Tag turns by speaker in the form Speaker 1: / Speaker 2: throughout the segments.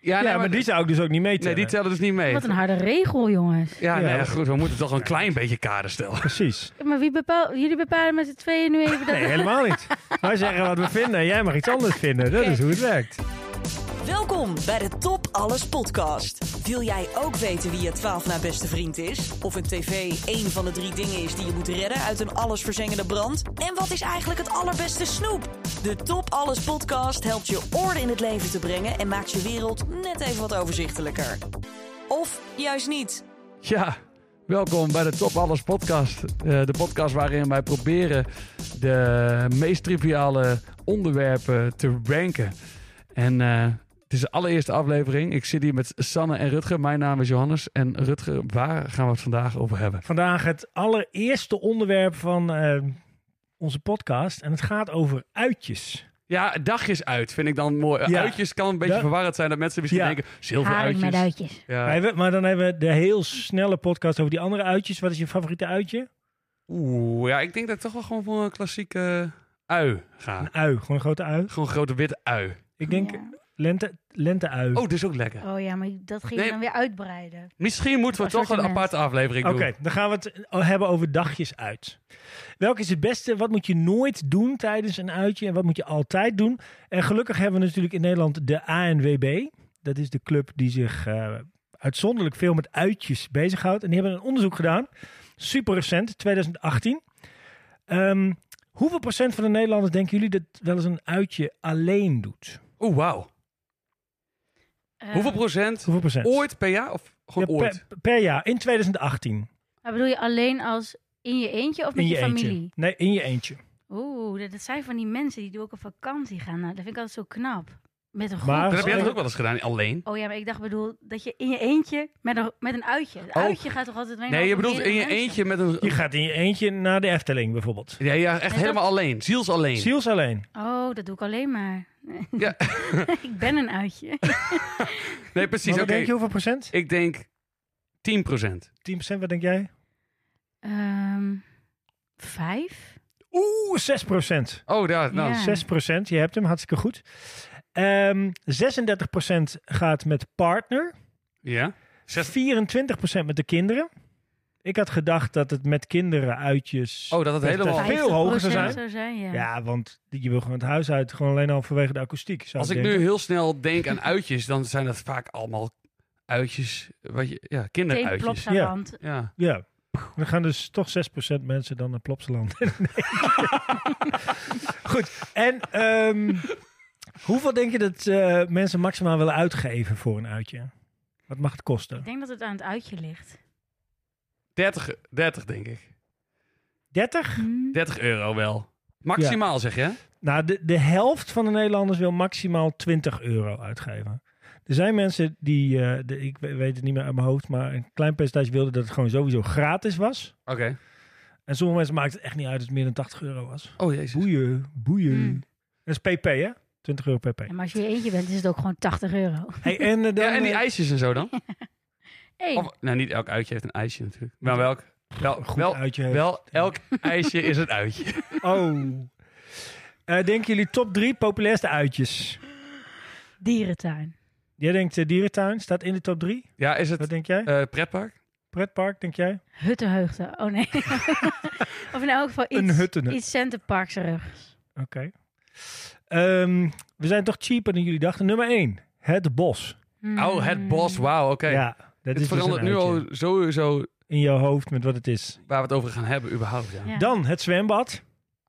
Speaker 1: Ja, nee,
Speaker 2: maar, die zou ik dus ook niet mee
Speaker 1: nee, die
Speaker 2: tellen.
Speaker 1: tellen dus niet mee.
Speaker 3: Wat een harde regel, jongens.
Speaker 1: Ja,
Speaker 2: Ja.
Speaker 1: nee, goed, we moeten toch een klein beetje kader stellen.
Speaker 2: Precies.
Speaker 3: Maar wie bepaalt... Jullie bepalen met z'n tweeën nu even dat...
Speaker 2: Nee, helemaal niet. Wij zeggen wat we vinden en jij mag iets anders vinden. Dat is hoe het werkt.
Speaker 4: Welkom bij de Top Alles podcast. Wil jij ook weten wie je 12 na beste vriend is? Of een tv één van de drie dingen is die je moet redden uit een allesverzengende brand? En wat is eigenlijk het allerbeste snoep? De Top Alles podcast helpt je orde in het leven te brengen en maakt je wereld net even wat overzichtelijker. Of juist niet.
Speaker 1: Ja, welkom bij de Top Alles podcast. Eh, de podcast waarin wij proberen de meest triviale onderwerpen te ranken. En eh, het is de allereerste aflevering. Ik zit hier met Sanne en Rutger. Mijn naam is Johannes. En Rutger, waar gaan we het vandaag over hebben?
Speaker 2: Vandaag het allereerste onderwerp van eh, onze podcast. En het gaat over uitjes.
Speaker 1: Ja, dagjes uit vind ik dan mooi.
Speaker 2: Ja.
Speaker 1: Uitjes kan een beetje
Speaker 2: Ja.
Speaker 1: verwarrend zijn. Dat mensen misschien
Speaker 2: Ja.
Speaker 1: denken,
Speaker 3: Haring
Speaker 1: zilveruitjes.
Speaker 3: met uitjes.
Speaker 1: Ja.
Speaker 2: Maar we- Maar dan hebben we de heel snelle podcast over die andere uitjes. Wat is je favoriete uitje?
Speaker 1: Oeh, ja, ik denk dat ik toch wel gewoon voor een klassieke eh, ui ga.
Speaker 2: Een ui, gewoon een grote ui.
Speaker 1: Gewoon een grote witte ui.
Speaker 2: Ik denk
Speaker 3: Ja.
Speaker 2: lente, lente-ui.
Speaker 1: Oh, dit is ook lekker.
Speaker 3: Oh ja, maar dat ging
Speaker 1: Nee.
Speaker 3: je dan weer uitbreiden.
Speaker 1: Misschien moeten we
Speaker 3: Een
Speaker 1: toch een
Speaker 3: assortiment.
Speaker 1: aparte aflevering
Speaker 2: Oké,
Speaker 1: doen.
Speaker 2: dan gaan we het o- hebben over dagjes uit. Welk is het beste? Wat moet je nooit doen tijdens een uitje? En wat moet je altijd doen? En gelukkig hebben we natuurlijk in Nederland de ANWB. Dat is de club die zich eh, uitzonderlijk veel met uitjes bezighoudt. En die hebben een onderzoek gedaan. Super recent, 2018. Ehm, hoeveel procent van de Nederlanders denken jullie dat wel eens een uitje alleen doet?
Speaker 1: Oeh, wauw.
Speaker 3: Eh,
Speaker 1: Hoeveel procent?
Speaker 2: Hoeveel procent?
Speaker 1: Ooit per jaar? Of gewoon
Speaker 2: Ja,
Speaker 1: ooit?
Speaker 2: per, per jaar, in 2018.
Speaker 3: Maar bedoel je alleen als in je eentje of met
Speaker 2: In
Speaker 3: je,
Speaker 2: je
Speaker 3: familie?
Speaker 2: eentje. Nee, in je eentje.
Speaker 3: Oeh, dat, dat zijn van die mensen die doen ook op vakantie gaan. Nou, dat vind ik altijd zo knap. Met een groep.
Speaker 2: Maar-
Speaker 1: Dat heb jij
Speaker 2: Als-
Speaker 1: toch ook wel eens gedaan, alleen?
Speaker 3: Oh ja, maar ik dacht bedoel dat je in je eentje met een, met een uitje. Een
Speaker 1: Oh.
Speaker 3: uitje gaat toch altijd mee?
Speaker 1: Nee, je bedoelt in je eentje met
Speaker 2: Je
Speaker 1: een...
Speaker 2: gaat in je eentje naar de Efteling bijvoorbeeld.
Speaker 1: Ja, ja, echt
Speaker 3: dat-
Speaker 1: helemaal alleen. Ziels alleen.
Speaker 2: Ziels alleen.
Speaker 3: Oh, dat doe ik alleen maar.
Speaker 1: Ja.
Speaker 3: ik ben een uitje.
Speaker 1: Nee,
Speaker 2: Maar
Speaker 1: precies.
Speaker 2: wat
Speaker 1: Oké,
Speaker 2: denk je hoeveel procent?
Speaker 1: ik denk 10 procent.
Speaker 2: 10%, wat denk jij?
Speaker 3: Ehm, vijf?
Speaker 2: Oeh, 6 procent.
Speaker 1: Oh, daar, nou.
Speaker 3: Ja.
Speaker 2: 6 procent, je hebt hem, hartstikke goed. Ehm 36 procent gaat met partner.
Speaker 1: Ja?
Speaker 2: 24 procent met de kinderen. Ik had gedacht dat het met kinderen uitjes...
Speaker 1: Oh, dat het helemaal...
Speaker 2: Veel
Speaker 3: 50%
Speaker 2: hoger zou zijn.
Speaker 3: Zou zijn ja.
Speaker 2: Ja, want je wil gewoon het huis uit, gewoon alleen al vanwege de akoestiek. Zou
Speaker 1: Als ik nu heel snel denk aan uitjes, dan zijn dat vaak allemaal uitjes. Wat je, ja,
Speaker 3: Tegen
Speaker 1: kinderuitjes.
Speaker 3: Plopsaland.
Speaker 1: Ja.
Speaker 2: nu... Ja, dan gaan dus toch 6% mensen dan naar Plopsaland. Nee. goed, en ehm, hoeveel denk je dat eh, mensen maximaal willen uitgeven voor een uitje? Wat mag het kosten?
Speaker 3: Ik denk dat het aan het uitje ligt.
Speaker 1: 30, 30 denk ik.
Speaker 2: 30?
Speaker 3: Hm.
Speaker 1: 30 euro wel. Maximaal zeg je? hè?
Speaker 2: Nou, de, de helft van de Nederlanders wil maximaal 20 euro uitgeven. Er zijn mensen die, eh, de, ik we- weet het niet meer uit mijn hoofd, maar een klein percentage wilde dat het gewoon sowieso gratis was.
Speaker 1: Oké.
Speaker 2: En sommige mensen maakt het echt niet uit dat het meer dan 80 euro was.
Speaker 1: Oh jezus.
Speaker 2: Boeien, boeien.
Speaker 3: Hmm.
Speaker 2: Dat is pp, hè? 20 euro pp.
Speaker 3: Ja, maar als je in je eentje bent, is het ook gewoon 80 euro.
Speaker 2: Hey, en, eh, dan,
Speaker 1: Ja, en die
Speaker 2: eh,
Speaker 1: ijsjes en zo dan?
Speaker 3: Hey.
Speaker 1: Of, nou, niet elk uitje heeft een ijsje natuurlijk. Maar welk? Wel,
Speaker 2: goed
Speaker 1: wel,
Speaker 2: uitje. heeft-
Speaker 1: wel elk ijsje is een uitje.
Speaker 2: Oh. Eh, denken jullie top drie populairste uitjes?
Speaker 3: Dierentuin.
Speaker 2: Jij denkt eh, dierentuin staat in de top drie.
Speaker 1: Ja, is het
Speaker 2: Wat denk jij?
Speaker 1: eh, pretpark?
Speaker 2: Pretpark, denk jij?
Speaker 3: Huttenheugde. Oh nee. of in elk geval
Speaker 2: Een
Speaker 3: iets,
Speaker 2: hutten.
Speaker 3: iets centerparkserig.
Speaker 2: Oké. Ehm, we zijn toch cheaper dan jullie dachten. Nummer 1. Het bos.
Speaker 3: Hmm.
Speaker 1: Oh, het bos. Wauw, oké.
Speaker 2: Ja, dat is
Speaker 1: het
Speaker 2: dus
Speaker 1: verandert
Speaker 2: een
Speaker 1: nu
Speaker 2: uitje.
Speaker 1: al sowieso
Speaker 2: in je hoofd met wat het is.
Speaker 1: waar we het over gaan hebben überhaupt. Ja.
Speaker 3: Ja.
Speaker 2: Dan het zwembad.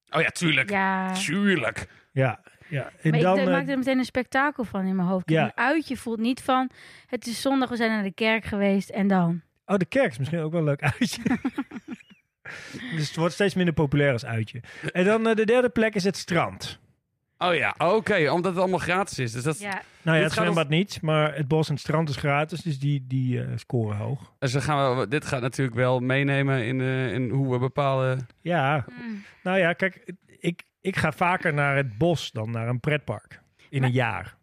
Speaker 1: Oh ja, tuurlijk.
Speaker 3: Ja.
Speaker 1: Tuurlijk.
Speaker 2: Ja, ja. En
Speaker 3: Maar
Speaker 2: dan
Speaker 3: ik
Speaker 2: eh,
Speaker 3: d- maak er meteen een spektakel van in mijn hoofd. Kijk,
Speaker 2: Ja.
Speaker 3: Een uitje voelt niet van, het is zondag, we zijn naar de kerk geweest en dan.
Speaker 2: oh, de kerk is misschien ook wel een leuk uitje. dus het wordt steeds minder populair als uitje. En dan eh, de derde plek is het strand.
Speaker 1: Oh ja, oké. omdat het allemaal gratis is. Dus dat,
Speaker 3: Ja,
Speaker 2: Nou ja,
Speaker 1: Dit
Speaker 2: het
Speaker 1: gaat
Speaker 2: zwembad niet, maar het bos en het strand is gratis, dus die, die eh, scoren hoog.
Speaker 1: Dus dan gaan we, dit gaat natuurlijk wel meenemen in, eh, in hoe we bepalen.
Speaker 2: Ja,
Speaker 3: Mm.
Speaker 2: nou ja, kijk, ik, ik ga vaker naar het bos dan naar een pretpark in
Speaker 3: Maar-
Speaker 2: een jaar.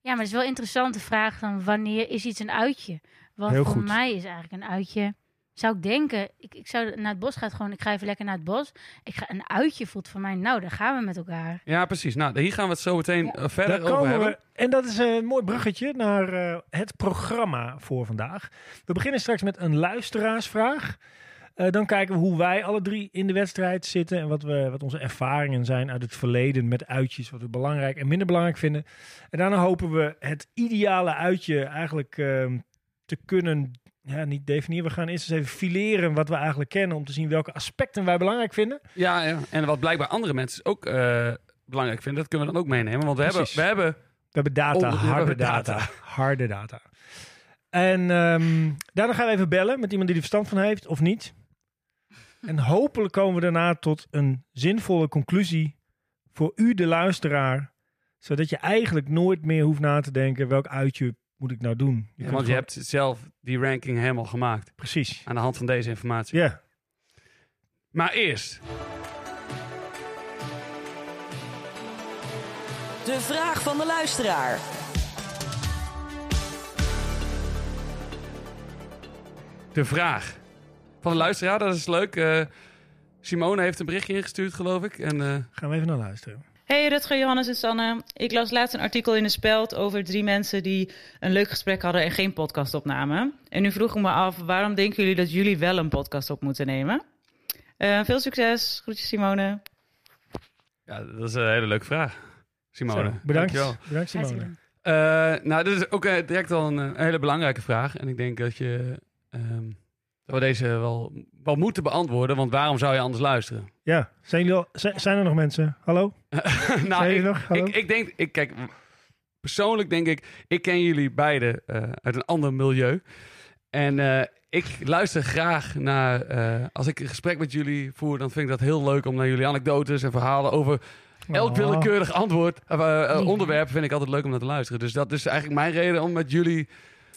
Speaker 3: ja maar het is wel een interessante vraag dan, wanneer is iets een uitje? Want
Speaker 2: Heel
Speaker 3: voor
Speaker 2: goed.
Speaker 3: mij is eigenlijk een uitje zou ik denken, ik, ik zou naar het bos gaan gewoon, ik ga even lekker naar het bos. Ik ga, een uitje voelt voor mij, nou, daar gaan we met elkaar.
Speaker 1: Ja, precies. Nou, hier gaan we het zo meteen eh,
Speaker 2: Daar
Speaker 1: verder over
Speaker 2: komen
Speaker 1: hebben.
Speaker 2: we. En dat is een mooi bruggetje naar eh, het programma voor vandaag. We beginnen straks met een luisteraarsvraag. Eh, dan kijken we hoe wij alle drie in de wedstrijd zitten. En wat, we, wat onze ervaringen zijn uit het verleden met uitjes. Wat we belangrijk en minder belangrijk vinden. En daarna hopen we het ideale uitje eigenlijk ehm, te kunnen. Ja, niet definiëren. We gaan eerst eens even fileren wat we eigenlijk kennen. Om te zien welke aspecten wij belangrijk vinden.
Speaker 1: Ja, ja, en wat blijkbaar andere mensen ook eh, belangrijk vinden, dat kunnen we dan ook meenemen. Want we
Speaker 2: Precies.
Speaker 1: hebben, we hebben
Speaker 2: We hebben data,
Speaker 1: Onder- we
Speaker 2: harde
Speaker 1: hebben
Speaker 2: data.
Speaker 1: data.
Speaker 2: Harde data. En ehm, daarna gaan we even bellen met iemand die er verstand van heeft of niet. En hopelijk komen we daarna tot een zinvolle conclusie voor u, de luisteraar. Zodat je eigenlijk nooit meer hoeft na te denken welk uitje moet ik nou doen. Je kunt
Speaker 1: want je
Speaker 2: gewoon-
Speaker 1: hebt zelf die ranking helemaal gemaakt
Speaker 2: Precies.
Speaker 1: aan de hand van deze informatie.
Speaker 2: Ja.
Speaker 1: Maar eerst,
Speaker 4: De vraag van de luisteraar.
Speaker 1: de vraag van de luisteraar, dat is leuk. Eh, Simone heeft een berichtje ingestuurd, geloof ik. En eh,
Speaker 2: Gaan we even naar luisteren.
Speaker 5: Hey Rutger, Johannes en Sanne. Ik las laatst een artikel in de Speld over drie mensen die een leuk gesprek hadden en geen podcast opnamen. En nu vroeg ik me af, waarom denken jullie dat jullie wel een podcast op moeten nemen? Eh, veel succes, groetjes Simone.
Speaker 1: ja, dat is een hele leuke vraag, Simone.
Speaker 2: Zo, bedankt.
Speaker 1: Dankjewel.
Speaker 2: Bedankt Simone.
Speaker 3: Hartstikke.
Speaker 1: Eh, nou, dit is ook eh, direct al een, eh, een hele belangrijke vraag. En ik denk dat, je, ehm, dat we deze wel, wel moeten beantwoorden. Want waarom zou je anders luisteren?
Speaker 2: Ja, zijn, jullie al, zijn, zijn er nog mensen? Hallo?
Speaker 1: nou,
Speaker 2: Zijn
Speaker 1: ik,
Speaker 2: jullie nog? Hallo?
Speaker 1: ik, ik denk, ik, kijk, persoonlijk denk ik, ik ken jullie beiden eh, uit een ander milieu. En eh, ik luister graag naar, eh, als ik een gesprek met jullie voer, dan vind ik dat heel leuk om naar jullie anekdotes en verhalen over elk
Speaker 2: Oh.
Speaker 1: willekeurig antwoord, of, eh, eh, onderwerp vind ik altijd leuk om naar te luisteren. Dus dat is eigenlijk mijn reden om met jullie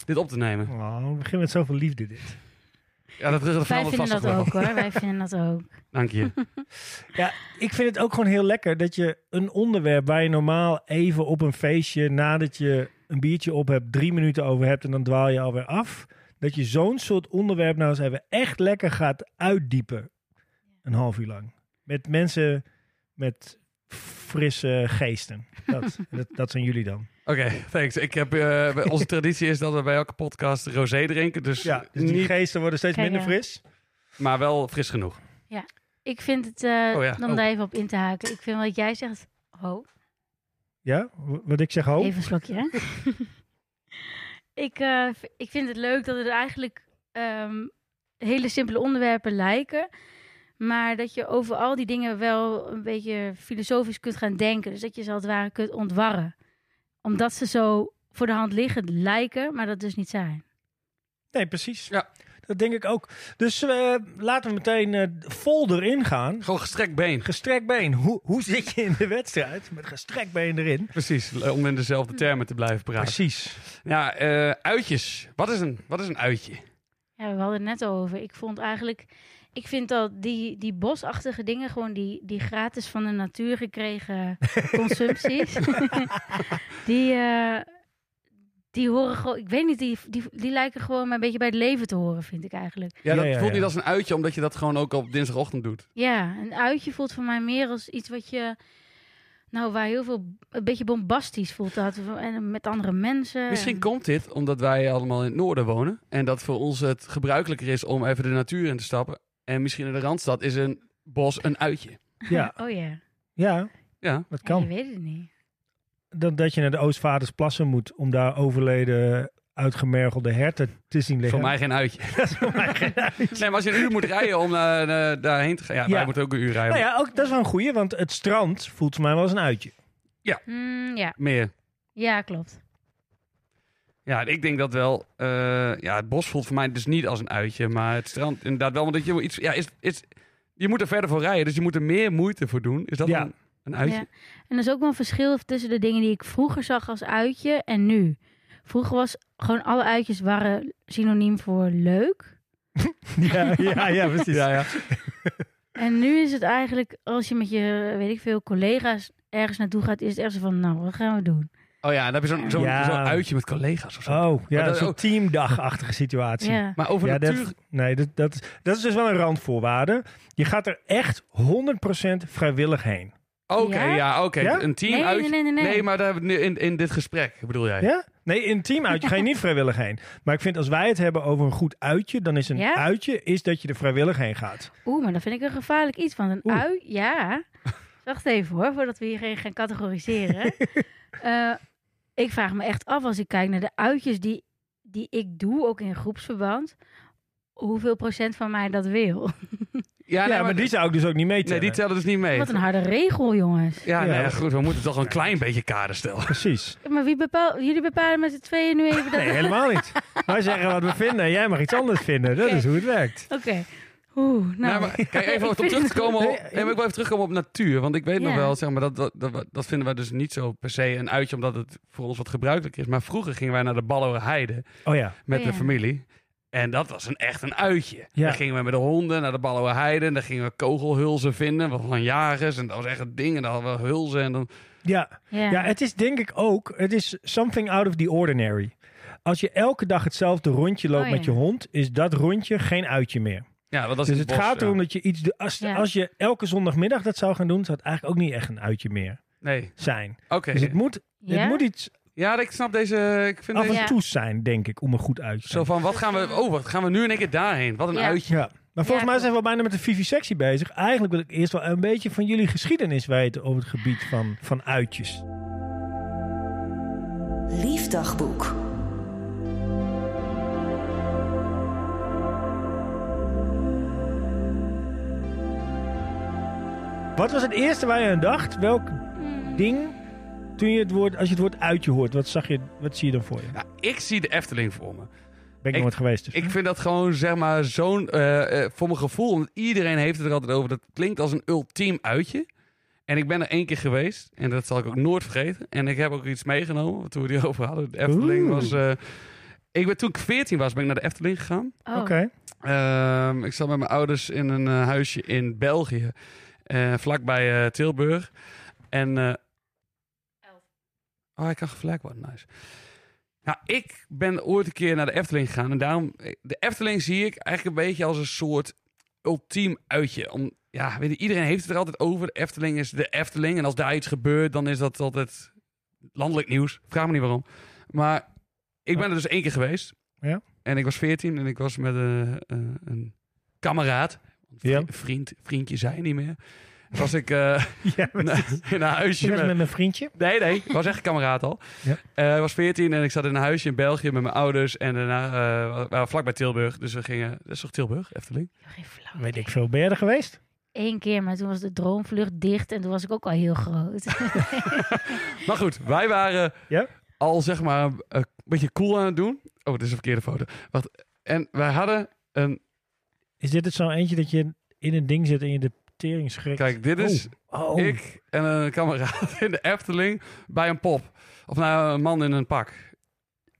Speaker 1: dit op te nemen.
Speaker 2: Oh, we beginnen met zoveel liefde dit.
Speaker 1: Ja, dat, dat
Speaker 3: Wij
Speaker 1: verandert
Speaker 3: vinden
Speaker 1: vast nog
Speaker 3: dat
Speaker 1: wel.
Speaker 3: ook hoor, wij vinden dat ook.
Speaker 1: Dank je.
Speaker 2: Ja, ik vind het ook gewoon heel lekker dat je een onderwerp waar je normaal even op een feestje nadat je een biertje op hebt, drie minuten over hebt en dan dwaal je alweer af. Dat je zo'n soort onderwerp nou eens even echt lekker gaat uitdiepen. Een half uur lang. Met mensen met frisse geesten. Dat, dat, dat zijn jullie dan.
Speaker 1: Oké, thanks. Ik heb, eh, bij- onze traditie is dat we bij elke podcast rosé drinken. Dus,
Speaker 2: Ja, dus die
Speaker 1: niet,
Speaker 2: geesten worden steeds
Speaker 3: Kijk,
Speaker 2: minder
Speaker 3: ja.
Speaker 2: fris.
Speaker 1: maar wel fris genoeg.
Speaker 3: Ik vind het, eh,
Speaker 1: Oh ja,
Speaker 3: om
Speaker 1: oh.
Speaker 3: daar even op in te haken, ik vind wat jij zegt, ho,
Speaker 2: Ja, w- wat ik zeg ook.
Speaker 3: Even een slokje, hè? ik, eh, v- ik vind het leuk dat het eigenlijk ehm, hele simpele onderwerpen lijken. Maar dat je over al die dingen wel een beetje filosofisch kunt gaan denken. Dus dat je ze als het ware kunt ontwarren. Omdat ze zo voor de hand liggen lijken, maar dat dus niet zijn.
Speaker 2: Nee, precies.
Speaker 1: Ja.
Speaker 2: Dat denk ik ook. Dus eh, laten we meteen eh, vol erin gaan.
Speaker 1: Gewoon gestrekt been.
Speaker 2: Gestrekt been. Hoe, hoe zit je in de wedstrijd met gestrekt been erin?
Speaker 1: Precies, le- Eh, om in dezelfde termen te blijven praten.
Speaker 2: Precies.
Speaker 1: Ja, eh, uitjes. Wat is, een, wat is een uitje?
Speaker 3: Ja, we hadden het net over. Ik vond eigenlijk. Ik vind dat die, die bosachtige dingen, gewoon die, die gratis van de natuur gekregen consumpties. die, eh, die horen gewoon. Ik weet niet, die, die, die lijken gewoon maar een beetje bij het leven te horen, vind ik eigenlijk.
Speaker 1: Ja,
Speaker 2: Ja,
Speaker 1: dat
Speaker 2: ja,
Speaker 1: voelt
Speaker 2: ja.
Speaker 1: niet als een uitje, omdat je dat gewoon ook op dinsdagochtend doet.
Speaker 3: Ja, een uitje voelt voor mij meer als iets wat je. Nou, waar heel veel. Een beetje bombastisch voelt dat. En met andere mensen.
Speaker 1: Misschien
Speaker 3: En-
Speaker 1: komt dit omdat wij allemaal in het noorden wonen. En dat voor ons het gebruikelijker is om even de natuur in te stappen. En misschien in de Randstad is een bos een uitje.
Speaker 2: Ja,
Speaker 3: Oh ja,
Speaker 2: ja
Speaker 1: Ja,
Speaker 2: dat
Speaker 3: Ja, je
Speaker 2: kan.
Speaker 3: weet het niet.
Speaker 2: Dat, dat je naar de Oostvaardersplassen moet om daar overleden uitgemergelde herten te zien liggen.
Speaker 1: voor mij geen uitje. Nee, maar als je een uur moet rijden om eh, eh, daarheen te gaan. Ja,
Speaker 2: Ja.
Speaker 1: wij moeten ook een uur rijden.
Speaker 2: Nou ja, ook, dat is wel een goeie, want het strand voelt voor mij wel als een uitje.
Speaker 3: Mm, ja.
Speaker 1: Meer.
Speaker 3: ja, klopt.
Speaker 1: Ja, ik denk dat wel. eh, ja, het bos voelt voor mij dus niet als een uitje. Maar het strand inderdaad wel. Want dat je wel iets. Ja, is, is, je moet er verder voor rijden. Dus je moet er meer moeite voor doen. Is dat
Speaker 2: Ja.
Speaker 1: een, een uitje?
Speaker 3: Ja. En er is ook wel een verschil tussen de dingen die ik vroeger zag als uitje en nu. Vroeger was gewoon alle uitjes waren synoniem voor leuk.
Speaker 2: Ja, ja, ja precies.
Speaker 1: Ja, ja.
Speaker 3: En nu is het eigenlijk, als je met je, weet ik veel, collega's ergens naartoe gaat, is het ergens van, nou, wat gaan we doen?
Speaker 1: Oh ja, en dan heb je zo'n zo'n
Speaker 2: Ja.
Speaker 1: zo'n uitje met collega's of zo.
Speaker 2: Oh,
Speaker 1: Maar
Speaker 2: ja,
Speaker 1: dat-
Speaker 2: zo'n
Speaker 1: oh.
Speaker 2: teamdagachtige situatie.
Speaker 3: Ja.
Speaker 1: Maar over
Speaker 2: Ja,
Speaker 1: natuur...
Speaker 2: dat, nee, dat, dat, is- dat is dus wel een randvoorwaarde. Je gaat er echt 100% vrijwillig heen.
Speaker 1: Oké,
Speaker 3: Ja?
Speaker 1: ja, oké.
Speaker 2: Ja?
Speaker 1: Een team
Speaker 3: Nee,
Speaker 1: uit...
Speaker 3: nee, nee, nee, nee.
Speaker 1: maar daar hebben we nu in, in dit gesprek, bedoel jij?
Speaker 2: Ja? Nee, in een teamuitje ga je niet vrijwillig heen. Maar ik vind als wij het hebben over een goed uitje, dan is een
Speaker 3: Ja?
Speaker 2: uitje is dat je er vrijwillig heen gaat.
Speaker 3: Oeh, maar dat vind ik een gevaarlijk iets. Want een
Speaker 2: Oeh.
Speaker 3: ui, ja. Wacht even hoor, voordat we hierheen gaan categoriseren. Eh, ik vraag me echt af, als ik kijk naar de uitjes die, die ik doe, ook in groepsverband. Hoeveel procent van mij dat wil?
Speaker 1: Ja,
Speaker 2: Ja,
Speaker 1: nee,
Speaker 2: maar die zou ik dus ook niet
Speaker 1: Nee,
Speaker 2: meetellen.
Speaker 1: die tellen dus niet mee.
Speaker 3: Wat een harde regel, jongens.
Speaker 1: Ja,
Speaker 2: Ja.
Speaker 1: nou ja, goed, we moeten toch een klein beetje kader stellen.
Speaker 2: Precies.
Speaker 3: Maar wie bepaalt, jullie bepalen met z'n tweeën nu even dat...
Speaker 2: Nee, helemaal niet. Wij zeggen wat we vinden en jij mag iets anders vinden. Dat is hoe het werkt.
Speaker 3: Oké. Oeh, nou.
Speaker 1: Nou, maar, kijk, even
Speaker 3: ik
Speaker 1: op
Speaker 3: vind
Speaker 1: terug te
Speaker 3: het
Speaker 1: komen.
Speaker 2: goed.
Speaker 1: Op, nee, maar ik wil even terugkomen op natuur. Want ik weet nog
Speaker 3: Ja.
Speaker 1: wel, zeg maar, dat, dat, dat, dat vinden wij dus niet zo per se een uitje, omdat het voor ons wat gebruikelijk is. Maar vroeger gingen wij naar de Ballower Heide
Speaker 2: Oh ja.
Speaker 1: met
Speaker 3: Oh
Speaker 1: de
Speaker 3: ja.
Speaker 1: familie. En dat was een, echt een uitje.
Speaker 2: Ja.
Speaker 1: Dan gingen we met de honden naar de Ballower Heide. En dan gingen we kogelhulzen vinden wat van jagers. En dat was echt een ding. En dan hadden we hulzen. En dan...
Speaker 2: Ja.
Speaker 3: Ja.
Speaker 2: ja, het is denk ik ook, het is something out of the ordinary. Als je elke dag hetzelfde rondje loopt
Speaker 3: Oh ja.
Speaker 2: met je hond, is dat rondje geen uitje meer.
Speaker 1: Ja, want dat is
Speaker 2: Dus
Speaker 1: in
Speaker 2: het
Speaker 1: bos,
Speaker 2: gaat
Speaker 1: ja.
Speaker 2: erom dat je iets. doet- Als,
Speaker 3: Ja.
Speaker 2: als je elke zondagmiddag dat zou gaan doen, zou het eigenlijk ook niet echt een uitje meer
Speaker 1: Nee,
Speaker 2: zijn.
Speaker 1: oké.
Speaker 2: Dus het moet,
Speaker 3: Ja?
Speaker 2: het moet iets
Speaker 1: Ja, ik snap deze... Ik vind
Speaker 2: af
Speaker 1: deze...
Speaker 2: en
Speaker 3: Ja.
Speaker 2: toe zijn, denk ik, om een goed uit te
Speaker 1: Zo
Speaker 2: zijn.
Speaker 1: van, wat gaan we... Oh, wat gaan we nu in één keer daarheen? Wat een
Speaker 3: Ja.
Speaker 1: uitje.
Speaker 2: Ja. Maar volgens mij
Speaker 3: klopt.
Speaker 2: zijn we al bijna met de vivisectie bezig. Eigenlijk wil ik eerst wel een beetje van jullie geschiedenis weten op het gebied van, van uitjes.
Speaker 4: Liefdagboek.
Speaker 2: Wat was het eerste waar je aan dacht? Welk
Speaker 3: Hmm.
Speaker 2: ding toen je het woord, als je het woord uitje hoort, wat, zag je, wat zie je dan voor je?
Speaker 1: Ja, ik zie de Efteling voor me.
Speaker 2: Ben ik,
Speaker 1: Ik-
Speaker 2: nooit geweest. Dus.
Speaker 1: Ik vind dat gewoon, zeg maar, zo'n... eh, eh, voor mijn gevoel, want iedereen heeft het er altijd over. Dat klinkt als een ultiem uitje. En ik ben er één keer geweest. En dat zal ik ook nooit vergeten. En ik heb ook iets meegenomen, wat we die over hadden. De Efteling
Speaker 2: Oeh.
Speaker 1: was... eh, ik ben, toen ik 14 was, ben ik naar de Efteling gegaan.
Speaker 3: Oh,
Speaker 2: Oké.
Speaker 1: Ehm, ik zat met mijn ouders in een eh, huisje in België. eh, vlakbij eh, Tilburg. En... eh, Oh, ik kan gevlek worden, nice. Nou, ik ben ooit een keer naar de Efteling gegaan. En daarom, eh, de Efteling zie ik eigenlijk een beetje als een soort ultiem uitje. Om, ja, weet je, iedereen heeft het er altijd over. De Efteling is de Efteling. En als daar iets gebeurt, dan is dat altijd landelijk nieuws. Vraag me niet waarom. Maar ik ben er dus één keer geweest.
Speaker 2: Ja.
Speaker 1: En ik was veertien en ik was met eh, eh, een kameraad. Vri-
Speaker 2: Ja.
Speaker 1: Vriend, vriendje zijn niet meer. Was ik eh,
Speaker 2: Ja, maar-
Speaker 1: in een huisje
Speaker 2: Ik was
Speaker 1: met-
Speaker 2: met mijn vriendje.
Speaker 1: Nee, nee. Ik was echt een kameraad al.
Speaker 2: Ja.
Speaker 1: Eh, ik was 14 en ik zat in een huisje in België met mijn ouders. En daarna eh, we waren we vlak bij Tilburg. Dus we gingen... Dat is toch Tilburg, Efteling?
Speaker 3: ik heb geen flauw
Speaker 2: Weet ik veel, ben jij er geweest?
Speaker 3: Eén keer, maar toen was de droomvlucht dicht en toen was ik ook al heel groot.
Speaker 1: Maar goed, wij waren
Speaker 2: Ja.
Speaker 1: al zeg maar een- een beetje cool aan het doen. Oh, dit is een verkeerde foto. Wacht. En wij hadden een...
Speaker 2: Is dit het zo eentje dat je in een ding zit en je de tering schrikt?
Speaker 1: Kijk, dit is
Speaker 2: Oh.
Speaker 1: ik en een kameraad in de Efteling bij een pop. Of nou, een man in een pak.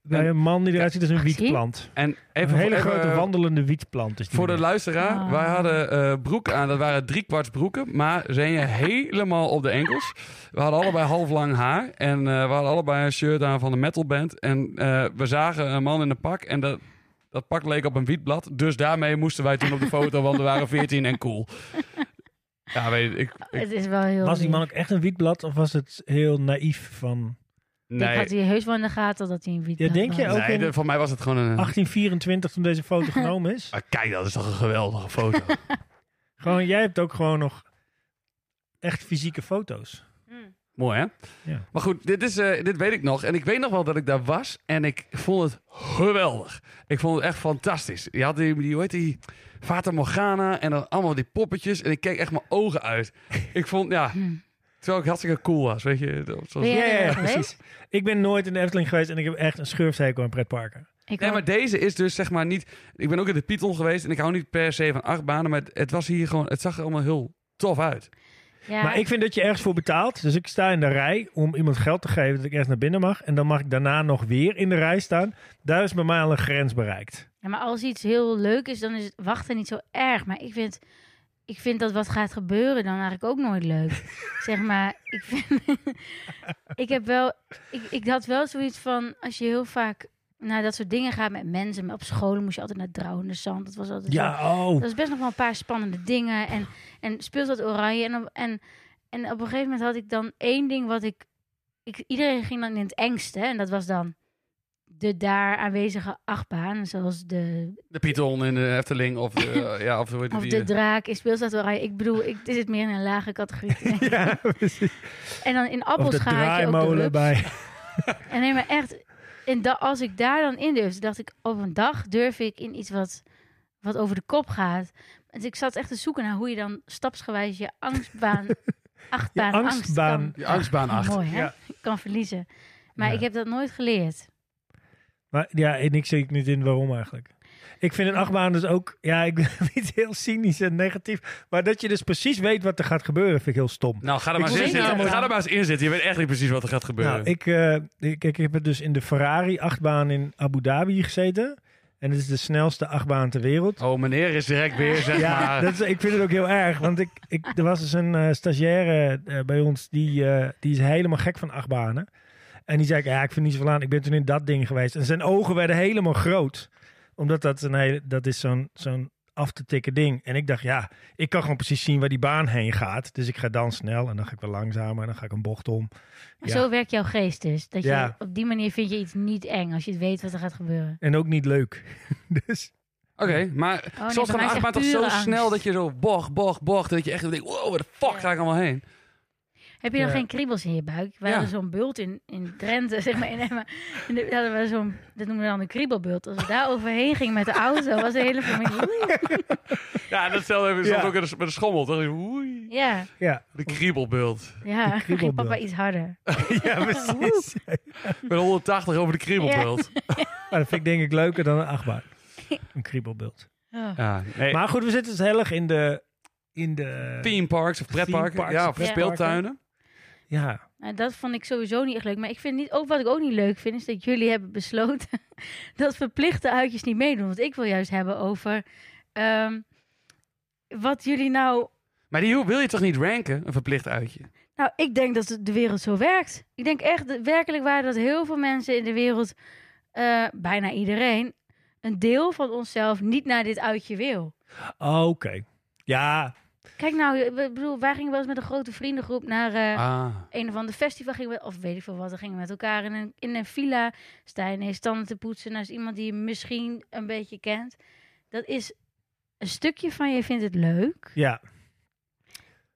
Speaker 2: Bij een man die eruit ziet als een
Speaker 3: Ach, zie.
Speaker 2: wietplant.
Speaker 1: En even
Speaker 2: Een hele
Speaker 1: even-
Speaker 2: grote wandelende wietplant. Is die
Speaker 1: Voor de
Speaker 2: meneer.
Speaker 1: luisteraar,
Speaker 3: Ah.
Speaker 1: wij hadden eh broeken aan. Dat waren driekwarts broeken, maar zijn je helemaal op de enkels. We hadden allebei half lang haar en eh, we hadden allebei een shirt aan van een metalband. En eh, we zagen een man in een pak en dat, dat pak leek op een wietblad. Dus daarmee moesten wij toen op de foto, want we waren 14 en cool. Ja, weet je, ik... ik
Speaker 3: het is wel heel.
Speaker 2: Was die man
Speaker 3: lief.
Speaker 2: ook echt een wietblad of was het heel naïef van
Speaker 3: Ik
Speaker 1: nee,
Speaker 3: had die heus wel in de gaten dat hij een wiet
Speaker 2: Ja, denk je
Speaker 3: was.
Speaker 2: ook?
Speaker 1: nee
Speaker 2: in-
Speaker 1: de- voor mij was het gewoon een...
Speaker 2: 1824 toen deze foto genomen is?
Speaker 1: Ah, kijk, dat is toch een geweldige foto.
Speaker 2: Gewoon, jij hebt ook gewoon nog echt fysieke foto's.
Speaker 3: Hmm.
Speaker 1: Mooi, hè?
Speaker 2: Ja.
Speaker 1: Maar goed, dit, is, eh, dit weet ik nog. En ik weet nog wel dat ik daar was. En ik vond het geweldig. Ik vond het echt fantastisch. Je had die, die hoe heet die? Fata Morgana. En dan allemaal die poppetjes. En ik keek echt mijn ogen uit. Ik vond, ja...
Speaker 3: Hm.
Speaker 1: Terwijl ik hartstikke cool was, weet je. Dat was-
Speaker 3: Ben jij er wel geweest?
Speaker 2: Ik ben nooit in de Efteling geweest en ik heb echt een schurfzeker aan pretparken.
Speaker 3: Ik
Speaker 1: Nee,
Speaker 3: ook.
Speaker 1: maar deze is dus zeg maar niet... Ik ben ook in de Python geweest. En ik hou niet per se van achtbanen. Maar het, het was hier gewoon... Het zag er allemaal heel tof uit.
Speaker 3: Ja,
Speaker 2: Maar ik vind dat je ergens voor betaalt. Dus ik sta in de rij om iemand geld te geven dat ik eerst naar binnen mag. En dan mag ik daarna nog weer in de rij staan. Daar is bij mij al een grens bereikt.
Speaker 3: ja, maar als iets heel leuk is, dan is het wachten niet zo erg. Maar ik vind ik vind dat wat gaat gebeuren dan eigenlijk ook nooit leuk. zeg maar, ik vind... ik heb wel... Ik, ik had wel zoiets van, als je heel vaak naar dat soort dingen gaat met mensen... maar op scholen moest je altijd naar drouwende zand. Dat was altijd zo-
Speaker 2: Ja, oh.
Speaker 3: dat is best nog wel een paar spannende dingen. En, en speelt dat oranje. En op, en, en op een gegeven moment had ik dan één ding wat ik, ik... Iedereen ging dan in het engste. En dat was dan de daar aanwezige achtbaan. Zoals de,
Speaker 1: De Python in de Efteling of de, eh, ja, of hoe heet
Speaker 3: of
Speaker 1: die,
Speaker 3: de
Speaker 1: eh,
Speaker 3: draak in speelstad oranje. Ik bedoel, ik, dit is meer in een lage categorie.
Speaker 2: Ja, precies.
Speaker 3: en dan in
Speaker 2: Of de
Speaker 3: appels ga je ook de
Speaker 2: draaimolen
Speaker 3: rups.
Speaker 2: bij.
Speaker 3: En nee, maar echt, en da- als ik daar dan in durfde, dacht ik, op een dag durf ik in iets wat, wat over de kop gaat. Dus ik zat echt te zoeken naar hoe je dan stapsgewijs je angstbaan, achtbaan,
Speaker 2: Je
Speaker 3: angst
Speaker 2: angstbaan.
Speaker 3: kan-
Speaker 1: die angstbaan achter.
Speaker 3: Mooi, hè?
Speaker 2: Ja.
Speaker 3: Kan verliezen. Maar
Speaker 2: Ja.
Speaker 3: ik heb dat nooit geleerd.
Speaker 2: Maar ja, en ik zie ik niet in waarom eigenlijk. Ik vind een achtbaan dus ook, ja, ik ben niet heel cynisch en negatief. Maar dat je dus precies weet wat er gaat gebeuren, vind ik heel stom.
Speaker 1: Nou, ga er
Speaker 2: Ik
Speaker 1: maar, eens
Speaker 2: weet
Speaker 1: in
Speaker 2: niet
Speaker 1: zitten.
Speaker 3: allemaal.
Speaker 1: Ga er maar eens in zitten. Je weet echt niet precies wat er gaat gebeuren.
Speaker 2: Nou, ik, eh, ik, ik heb het dus in de Ferrari achtbaan in Abu Dhabi gezeten. En het is de snelste achtbaan ter wereld.
Speaker 1: Oh, meneer is direct weer, zeg
Speaker 2: Ja,
Speaker 1: maar.
Speaker 2: dat is, ik vind het ook heel erg. Want ik, ik, er was dus een eh, stagiaire eh, bij ons, die, eh, die is helemaal gek van achtbanen. En die zei, ik, ja, ik vind niet zoveel aan, ik ben toen in dat ding geweest. En zijn ogen werden helemaal groot. Omdat dat, een hele, dat is zo'n zo'n af te tikken ding. En ik dacht, ja, ik kan gewoon precies zien waar die baan heen gaat. Dus ik ga dan snel en dan ga ik wel langzamer en dan ga ik een bocht om. Ja.
Speaker 3: Zo werkt jouw geest dus. Dat je,
Speaker 2: Ja.
Speaker 3: Op die manier vind je iets niet eng als je weet wat er gaat gebeuren.
Speaker 2: En ook niet leuk. dus
Speaker 1: Oké, maar
Speaker 2: Oh,
Speaker 3: nee,
Speaker 1: soms
Speaker 3: bij
Speaker 1: gaat
Speaker 3: mij
Speaker 1: een
Speaker 3: is
Speaker 1: achtbaan
Speaker 3: echt
Speaker 1: toch zo
Speaker 3: pure angst.
Speaker 1: snel dat je zo bocht, bocht, bocht. Dat je echt denkt, wow, waar de fuck ga ik allemaal heen?
Speaker 3: Heb je dan
Speaker 2: Ja.
Speaker 3: geen kriebels in je buik? We hadden
Speaker 1: Ja.
Speaker 3: zo'n bult in, in Drenthe, zeg maar. In, Emmen. en dan hadden we zo'n, dat noemen we dan een kriebelbult. Als we daar overheen gingen met de auto, was de hele familie... "Oei."
Speaker 1: Ja, dat stelde even
Speaker 2: Ja.
Speaker 1: soms ook met een- met een schommel. Toch? Oei,
Speaker 3: Ja,
Speaker 2: ja,
Speaker 1: de kriebelbeeld.
Speaker 3: ja. Ging
Speaker 2: kriebelbult.
Speaker 3: papa iets harder.
Speaker 2: ja precies.
Speaker 1: Met 180 over de kriebelbeeld.
Speaker 2: Maar dat vind ik denk ik leuker dan een achtbaan. Een kriebelbeeld.
Speaker 3: Oh.
Speaker 1: Ja. nee.
Speaker 2: Maar goed, we zitten dus heel erg in de... In de
Speaker 1: Theme parks of pretparken.
Speaker 2: Theme parks,
Speaker 1: ja, of
Speaker 2: pretparken.
Speaker 1: speeltuinen.
Speaker 2: Ja.
Speaker 3: Nou, dat vond ik sowieso niet echt leuk. Maar ik vind niet, ook wat ik ook niet leuk vind, is dat jullie hebben besloten dat verplichte uitjes niet meedoen. Want ik wil juist hebben over ehm, wat jullie nou.
Speaker 1: Maar die wil je toch niet ranken, een verplicht uitje?
Speaker 3: Nou, ik denk dat de wereld zo werkt. Ik denk echt dat- werkelijk waar dat heel veel mensen in de wereld, eh, bijna iedereen, een deel van onszelf niet naar dit uitje wil.
Speaker 2: Oh, Oké. Ja.
Speaker 3: Kijk nou, ik bedoel, wij gingen wel eens met een grote vriendengroep naar. eh,
Speaker 1: Ah.
Speaker 3: een of ander festival gingen we, of weet ik veel wat, dan gingen we met elkaar in een, in een villa. Stijn is tanden te poetsen naast iemand die je misschien een beetje kent. Dat is een stukje van je vindt het leuk.
Speaker 2: Ja.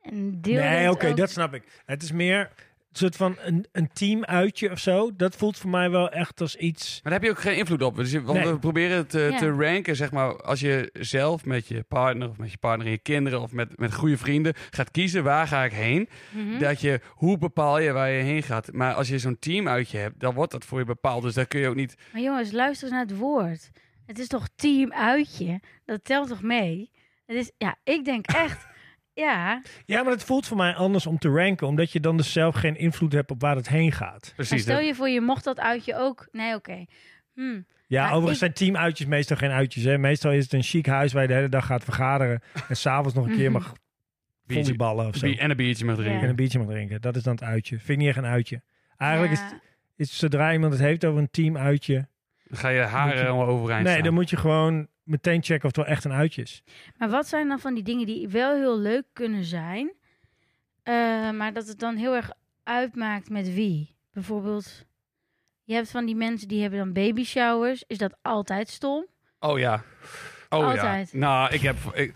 Speaker 3: Een deel
Speaker 2: Nee,
Speaker 3: denkt
Speaker 2: oké,
Speaker 3: ook-
Speaker 2: dat snap ik. Het is meer een soort van een, een teamuitje of zo. Dat voelt voor mij wel echt als iets...
Speaker 1: Maar daar heb je ook geen invloed op. Dus je- want
Speaker 2: Nee.
Speaker 1: we proberen het eh,
Speaker 3: Ja.
Speaker 1: te ranken, zeg maar, als je zelf met je partner of met je partner en je kinderen of met, met goede vrienden gaat kiezen waar ga ik heen.
Speaker 3: Mhm.
Speaker 1: Dat je, hoe bepaal je waar je heen gaat? Maar als je zo'n team uit je hebt, dan wordt dat voor je bepaald. Dus daar kun je ook niet.
Speaker 3: Maar jongens, luister eens naar het woord. Het is toch team uitje? Dat telt toch mee? Het is, ja, ik denk echt, ja.
Speaker 2: Ja, maar het voelt voor mij anders om te ranken. Omdat je dan dus zelf geen invloed hebt op waar het heen gaat.
Speaker 3: Maar
Speaker 1: Precies.
Speaker 3: stel
Speaker 1: dat-
Speaker 3: je voor, je mocht dat uitje ook. Nee, oké. Hm.
Speaker 2: Ja,
Speaker 3: Maar
Speaker 2: overigens
Speaker 3: ik-
Speaker 2: zijn teamuitjes meestal geen uitjes. Hè. Meestal is het een chic huis waar je de hele dag gaat vergaderen. En s'avonds nog een
Speaker 3: Mhm.
Speaker 2: keer mag
Speaker 1: Biertje-
Speaker 2: volleyballen of zo.
Speaker 1: Bie- en een biertje mag drinken.
Speaker 2: En
Speaker 3: Ja.
Speaker 2: een biertje mag drinken. Dat is dan het uitje. Vind ik niet echt een uitje. Eigenlijk
Speaker 3: Ja.
Speaker 2: is, is zodra iemand het heeft over een teamuitje...
Speaker 1: Dan ga je haren
Speaker 2: Moet je-
Speaker 1: helemaal overeind
Speaker 2: Nee,
Speaker 1: staan.
Speaker 2: dan moet je gewoon meteen checken of het wel echt een uitje is.
Speaker 3: Maar wat zijn dan van die dingen die wel heel leuk kunnen zijn, eh, maar dat het dan heel erg uitmaakt met wie? Bijvoorbeeld, je hebt van die mensen die hebben dan baby showers. Is dat altijd stom?
Speaker 1: Oh ja. Oh
Speaker 3: Altijd.
Speaker 1: ja. Nou, ik heb... ik-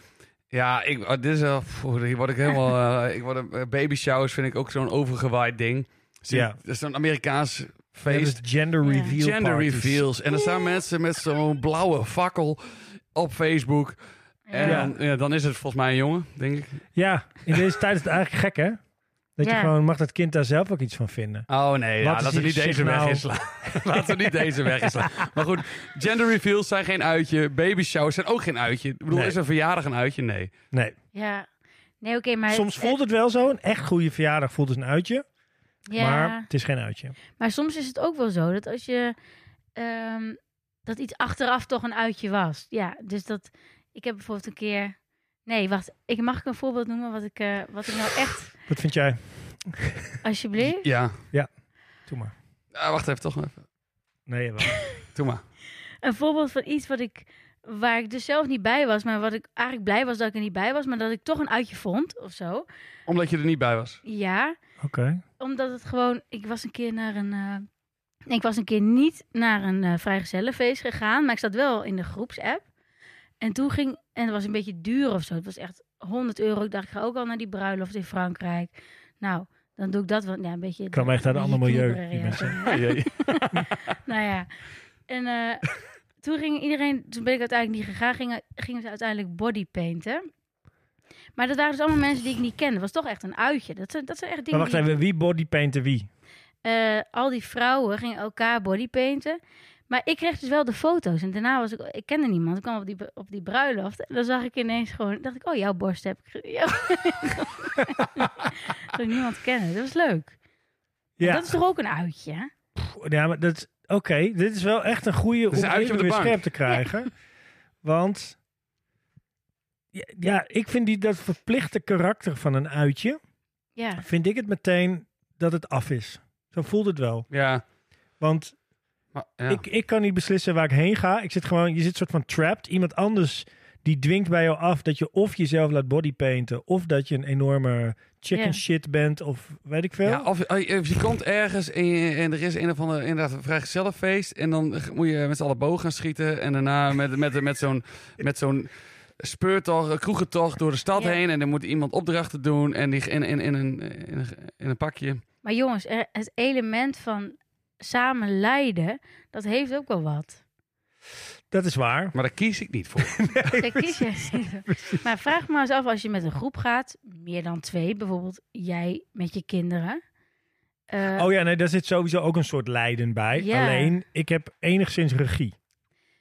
Speaker 1: ja, ik, oh, dit is wel... pff, hier word ik helemaal... eh, ik word een, eh, baby showers vind ik ook zo'n overgewaaid ding. Zie-
Speaker 2: Ja.
Speaker 1: Dat is zo'n Amerikaans
Speaker 2: Ja,
Speaker 1: feest.
Speaker 2: dus gender
Speaker 3: Ja.
Speaker 2: reveal
Speaker 1: Gender
Speaker 2: parties.
Speaker 1: reveals. En dan staan mensen met zo'n blauwe fakkel op Facebook. En
Speaker 2: Ja.
Speaker 1: dan, ja, dan is het volgens mij een jongen, denk ik.
Speaker 2: Ja, in deze tijd is het eigenlijk gek, hè? Dat je
Speaker 3: Ja.
Speaker 2: gewoon mag dat kind daar zelf ook iets van vinden.
Speaker 1: Oh nee,
Speaker 2: Wat
Speaker 1: ja, laten
Speaker 2: is
Speaker 1: we
Speaker 2: hier
Speaker 1: niet deze
Speaker 2: signaal?
Speaker 1: weg inslaan. laten we niet deze weg inslaan. Maar goed, gender reveals zijn geen uitje. Baby showers zijn ook geen uitje. Ik bedoel,
Speaker 2: Nee.
Speaker 1: is een verjaardag een uitje? Nee.
Speaker 2: Nee.
Speaker 3: Ja. Nee, oké, maar...
Speaker 2: Soms voelt het wel zo. Een echt goede verjaardag voelt als een uitje.
Speaker 3: ja.
Speaker 2: Maar het is geen uitje.
Speaker 3: Maar soms is het ook wel zo dat als je ehm, dat iets achteraf toch een uitje was. Ja, dus dat ik heb bijvoorbeeld een keer Nee, wacht. Ik, mag ik een voorbeeld noemen wat ik, eh, wat ik nou echt...
Speaker 2: Wat vind jij?
Speaker 3: Alsjeblieft.
Speaker 1: Ja.
Speaker 2: Doe maar.
Speaker 1: Ah, wacht even, toch maar even.
Speaker 2: Nee, wel.
Speaker 1: Doe maar.
Speaker 3: Een voorbeeld van iets wat ik, waar ik dus zelf niet bij was. Maar wat ik eigenlijk blij was dat ik er niet bij was. Maar dat ik toch een uitje vond of zo.
Speaker 1: Omdat je er niet bij was.
Speaker 3: Ja.
Speaker 2: Oké.
Speaker 3: Omdat het gewoon... Ik was een keer naar een... eh, ik was een keer niet naar een eh, vrijgezellenfeest gegaan. Maar ik zat wel in de groepsapp. En toen ging... En het was een beetje duur of zo. Het was echt 100 euro. Ik dacht, ik ga ook al naar die bruiloft in Frankrijk. Nou, dan doe ik dat wel. Ja, een beetje...
Speaker 2: Kan echt uit een ander
Speaker 3: beetje
Speaker 2: milieu,
Speaker 3: knieperig,
Speaker 2: die
Speaker 3: ja,
Speaker 2: mensen.
Speaker 3: zo.
Speaker 1: Ah, jee.
Speaker 3: Nou ja. En eh, toen ging iedereen, toen ben ik uiteindelijk niet gegaan, gingen, gingen ze uiteindelijk bodypainten. Maar dat waren dus allemaal mensen die ik niet kende. Het was toch echt een uitje. Dat zijn, dat zijn echt
Speaker 2: Maar
Speaker 3: dingen.
Speaker 2: wacht even, wie bodypainten wie?
Speaker 3: die- eh, al die vrouwen gingen elkaar bodypainten. Maar ik kreeg dus wel de foto's. En daarna was ik, ik kende niemand. Ik kwam op die, op die bruiloft. En dan zag ik ineens gewoon, dacht ik, oh, jouw borst heb ik. ge- Ja. Zou ik niemand kennen. Dat was leuk.
Speaker 2: Ja,
Speaker 3: Dat is toch ook een uitje? hè?
Speaker 2: ja maar dat is... Oké, dit is wel echt een goede om
Speaker 1: is een uitje
Speaker 2: even
Speaker 1: op de
Speaker 2: weer
Speaker 1: bank.
Speaker 2: scherp te krijgen. Want... Ja, ja, ik vind die, dat verplichte karakter van een uitje...
Speaker 3: Ja.
Speaker 2: vind ik het meteen dat het af is. Zo voelt het wel.
Speaker 1: Ja.
Speaker 2: Want
Speaker 1: Maar, ja.
Speaker 2: ik, ik kan niet beslissen waar ik heen ga. Ik zit gewoon, je zit soort van trapped. Iemand anders die dwingt bij jou af dat je of jezelf laat bodypainten... of dat je een enorme chicken
Speaker 3: Ja.
Speaker 2: shit bent of weet ik veel.
Speaker 1: Ja, of, of je komt ergens en, je- en er is een of ander inderdaad een vrijgezellenfeest. En dan moet je met z'n allen boog gaan schieten. En daarna met, met, met zo'n met zo'n speurtocht, eh, kroegentocht door de stad
Speaker 3: Ja.
Speaker 1: heen. En dan moet iemand opdrachten doen. En die in, in, in, een, in, een- in een pakje.
Speaker 3: Maar jongens, er- het element van samen lijden, dat heeft ook wel wat.
Speaker 2: Dat is waar.
Speaker 1: Maar daar kies ik niet voor.
Speaker 3: Daar kies je. Maar vraag maar eens af, als je met een groep gaat, meer dan twee, bijvoorbeeld jij met je kinderen. Eh,
Speaker 2: Oh ja, nee, daar zit sowieso ook een soort lijden bij.
Speaker 3: Ja.
Speaker 2: Alleen, ik heb enigszins regie.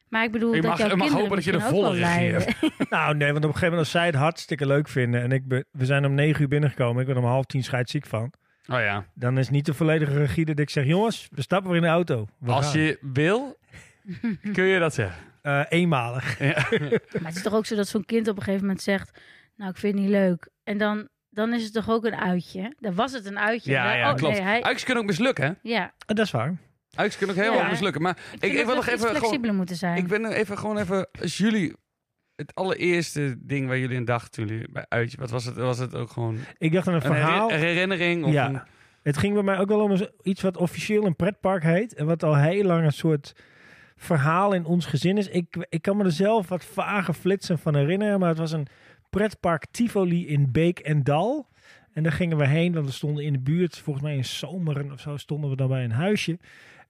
Speaker 3: Maar ik bedoel
Speaker 1: Je
Speaker 3: dat
Speaker 1: mag-
Speaker 3: jouw
Speaker 1: je mag
Speaker 3: kinderen
Speaker 1: hopen dat je de
Speaker 3: misschien ook
Speaker 1: volle
Speaker 3: wel
Speaker 1: regie hebt.
Speaker 3: lijden.
Speaker 2: nou nee, want op een gegeven moment als zij het hartstikke leuk vinden... en ik be- we zijn om negen uur binnengekomen, ik ben om half tien scheidsziek van...
Speaker 1: Oh ja.
Speaker 2: dan is niet de volledige regie dat ik zeg... jongens, we stappen weer in de auto. We
Speaker 1: Als
Speaker 2: gaan.
Speaker 1: je wil, kun je dat zeggen.
Speaker 2: Eh, eenmalig.
Speaker 3: Maar het is toch ook zo dat zo'n kind op een gegeven moment zegt, nou ik vind het niet leuk. En dan, dan is het toch ook een uitje. Dan was het een uitje.
Speaker 1: Ja,
Speaker 3: Dan-
Speaker 1: ja,
Speaker 3: oh,
Speaker 1: klopt. Ah,
Speaker 3: nee, hij-
Speaker 1: Uiks kunnen ook mislukken, hè?
Speaker 3: ja,
Speaker 2: Eh, dat is waar.
Speaker 1: Uiks kunnen ook helemaal
Speaker 3: Ja.
Speaker 1: mislukken. Maar
Speaker 3: ik,
Speaker 1: ik
Speaker 3: vind dat
Speaker 1: wil
Speaker 3: we
Speaker 1: nog
Speaker 3: iets
Speaker 1: even gewoon-
Speaker 3: flexibeler moeten zijn.
Speaker 1: Ik ben er even gewoon even. Als jullie. Het allereerste ding waar jullie in dachten toen jullie bij uitje. Wat was het? Was het ook gewoon een,
Speaker 2: Ik dacht aan een verhaal.
Speaker 1: herri- een herinnering? Of
Speaker 2: Ja.
Speaker 1: een-
Speaker 2: Het ging bij mij ook wel om een- iets wat officieel een pretpark heet. En wat al heel lang een soort verhaal in ons gezin is. Ik, ik kan me er zelf wat vage flitsen van herinneren. Maar het was een pretpark Tivoli in Beek en Dal. En daar gingen we heen, want we stonden in de buurt. Volgens mij in Zomeren of zo stonden we dan bij een huisje.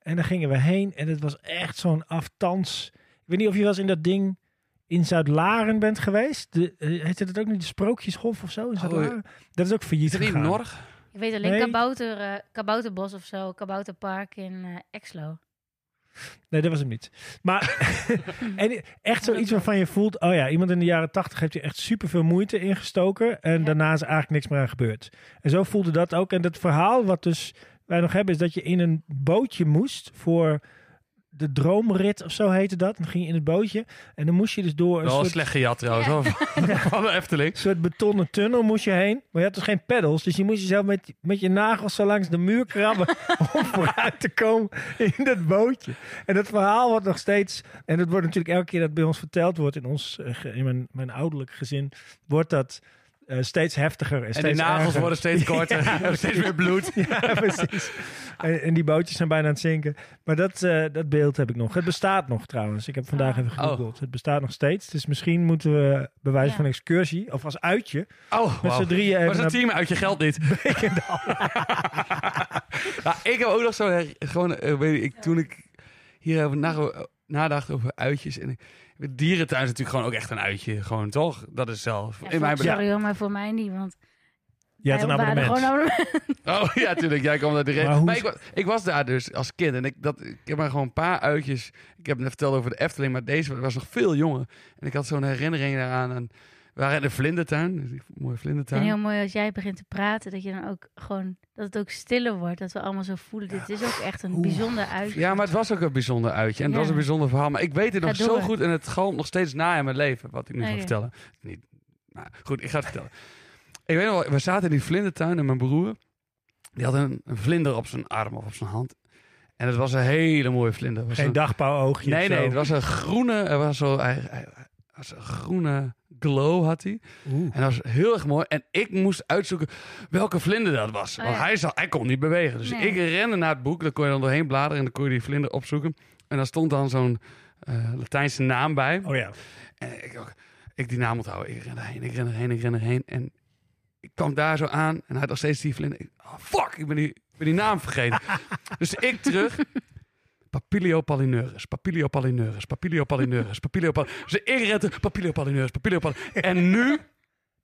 Speaker 2: En daar gingen we heen. En het was echt zo'n aftans. Ik weet niet of je wel eens in dat ding in Zuid-Laren bent geweest. De, eh, heette dat ook niet de Sprookjeshof of zo in Zuid-Laren? Dat is ook failliet
Speaker 1: Oh, eh, Is het niet
Speaker 2: gegaan.
Speaker 1: Norg?
Speaker 3: Ik weet alleen
Speaker 2: Nee.
Speaker 3: kabouter, eh, kabouterbos of zo, kabouterpark in eh, Exlo.
Speaker 2: Nee, dat was hem niet. Maar en echt zoiets waarvan je voelt... oh ja, iemand in de jaren tachtig heeft hier echt superveel moeite in gestoken... en
Speaker 3: Ja.
Speaker 2: daarna is er eigenlijk niks meer aan gebeurd. En zo voelde dat ook. En dat verhaal wat dus wij nog hebben... is dat je in een bootje moest voor de droomrit of zo heette dat. Dan ging je in het bootje en dan moest je dus door... een
Speaker 1: Wel
Speaker 2: soort-
Speaker 1: slecht gejat trouwens. hoor. Van de Efteling.
Speaker 2: een soort betonnen tunnel moest je heen. Maar je had dus geen peddels. Dus je moest jezelf met, met je nagels zo langs de muur krabben. om vooruit te komen in dat bootje. En dat verhaal wordt nog steeds. En dat wordt natuurlijk elke keer dat bij ons verteld wordt. In, ons, eh, ge- in mijn, mijn ouderlijk gezin. Wordt dat eh, steeds heftiger. En,
Speaker 1: En
Speaker 2: steeds
Speaker 1: die nagels
Speaker 2: erger.
Speaker 1: worden steeds korter.
Speaker 2: Ja,
Speaker 1: hebben steeds meer bloed.
Speaker 2: ja, precies. En, en die bootjes zijn bijna aan het zinken. Maar dat, eh, dat beeld heb ik nog. Het bestaat nog trouwens. Ik heb
Speaker 1: Ah.
Speaker 2: vandaag even gegoogeld.
Speaker 1: Oh.
Speaker 2: Het bestaat nog steeds. Dus misschien moeten we bij wijze
Speaker 3: Ja.
Speaker 2: van excursie, of als uitje,
Speaker 1: Oh,
Speaker 2: met
Speaker 1: wauw.
Speaker 2: z'n drieën
Speaker 1: Maar
Speaker 2: even
Speaker 1: zo'n
Speaker 2: naar
Speaker 1: team uit je geld niet. ja, ik heb ook nog zo'n... her- Gewoon, eh, weet ik, toen ik hierover na- nadacht over uitjes... En, ik- dierentuin is natuurlijk gewoon ook echt een uitje. Gewoon, toch? Dat is zelf.
Speaker 3: Ja,
Speaker 1: in mijn
Speaker 3: voor-
Speaker 1: beleving.
Speaker 3: sorry hoor, maar voor mij niet, want
Speaker 2: Je had een
Speaker 3: wij waren
Speaker 2: abonnement.
Speaker 3: gewoon abonnement.
Speaker 1: Oh ja, tuurlijk. Jij kwam daar direct.
Speaker 2: Maar
Speaker 1: Maar,
Speaker 2: hoe-
Speaker 1: ik, was, ik was daar dus als kind. En ik, dat, ik heb maar gewoon een paar uitjes. Ik heb net verteld over de Efteling. Maar deze was nog veel jonger. En ik had zo'n herinnering daaraan. Aan, we waren in de Vlindertuin. dus die Mooie
Speaker 3: En
Speaker 1: Vlindertuin.
Speaker 3: heel mooi als jij begint te praten, dat je dan ook gewoon dat het ook stiller wordt, dat we allemaal zo voelen. Dit is ook echt een
Speaker 1: Oeh.
Speaker 3: bijzonder uitje.
Speaker 1: Ja, maar het was ook een bijzonder uitje. En dat
Speaker 3: Ja.
Speaker 1: was een bijzonder verhaal. Maar ik weet het nog
Speaker 3: Ga
Speaker 1: zo
Speaker 3: door. Oh,
Speaker 1: goed. En het galmt nog steeds na in mijn leven. Wat ik nu ga
Speaker 3: Oké.
Speaker 1: vertellen. Niet, Nou, goed, ik ga het vertellen. Ik weet nog, wel, we zaten in die vlindertuin en mijn broer, die had een, een vlinder op zijn arm of op zijn hand. En het was een hele mooie vlinder. Het was
Speaker 2: Geen
Speaker 1: een-
Speaker 2: dagpauw oogje.
Speaker 1: Nee, nee, het was een groene, er was zo, hij, hij- hij was een groene glow had hij. En dat was heel erg mooi. En ik moest uitzoeken welke vlinder dat was.
Speaker 3: Oh,
Speaker 1: Want
Speaker 3: ja.
Speaker 1: hij, zat, hij kon niet bewegen. Dus
Speaker 3: Nee.
Speaker 1: ik rende naar het boek. Daar kon je dan doorheen bladeren. En dan kon je die vlinder opzoeken. En daar stond dan zo'n eh, Latijnse naam bij.
Speaker 2: Oh ja.
Speaker 1: En ik, ook, ik die naam onthouden. Ik ren erheen, ik ren erheen, ik ren erheen. En ik kwam daar zo aan. En hij had nog steeds die vlinder. Ik- oh, fuck, ik ben die, ik ben die naam vergeten. dus ik terug. Papilio pallineurus, papilio pallineurus, papilio pallineurus, papilio pallineurus. Dus ik ren terug, papilio pallineurus, papilio pallineurus. En nu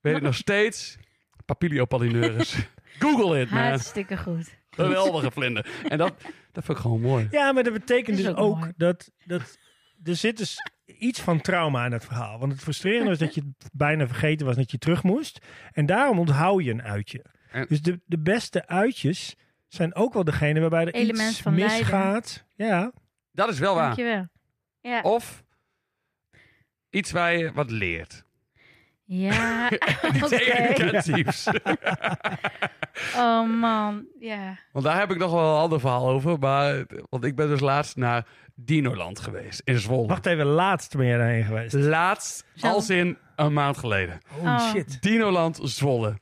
Speaker 1: weet ik nog steeds papilio pallineurus. Google it, man.
Speaker 3: Hartstikke goed.
Speaker 1: Geweldige vlinder. En dat, dat vind ik gewoon mooi.
Speaker 2: Ja, maar dat betekent
Speaker 3: Is
Speaker 2: dus
Speaker 3: ook
Speaker 2: ook
Speaker 3: mooi.
Speaker 2: dat, dat er zit dus iets van trauma aan het verhaal. Want het frustrerende was dat je het bijna vergeten was dat je terug moest. En daarom onthoud je een uitje.
Speaker 1: En-
Speaker 2: Dus de, de beste uitjes zijn ook wel degene waarbij er
Speaker 3: Element
Speaker 2: iets
Speaker 3: van lijden.
Speaker 2: misgaat. Ja,
Speaker 1: Dat is wel waar.
Speaker 3: Dankjewel. Ja.
Speaker 1: Of iets waar je wat leert.
Speaker 3: Ja. Oké.
Speaker 1: Negatiefs.
Speaker 3: Oh man. Ja.
Speaker 1: Want daar heb ik nog wel een ander verhaal over. Maar, want ik ben dus laatst naar Dinoland geweest in Zwolle.
Speaker 2: wacht even, laatst ben jij daarheen geweest.
Speaker 1: Laatst,
Speaker 3: Zo.
Speaker 1: als in een maand geleden.
Speaker 2: Holy
Speaker 3: Oh.
Speaker 2: shit.
Speaker 1: Dinoland Zwolle.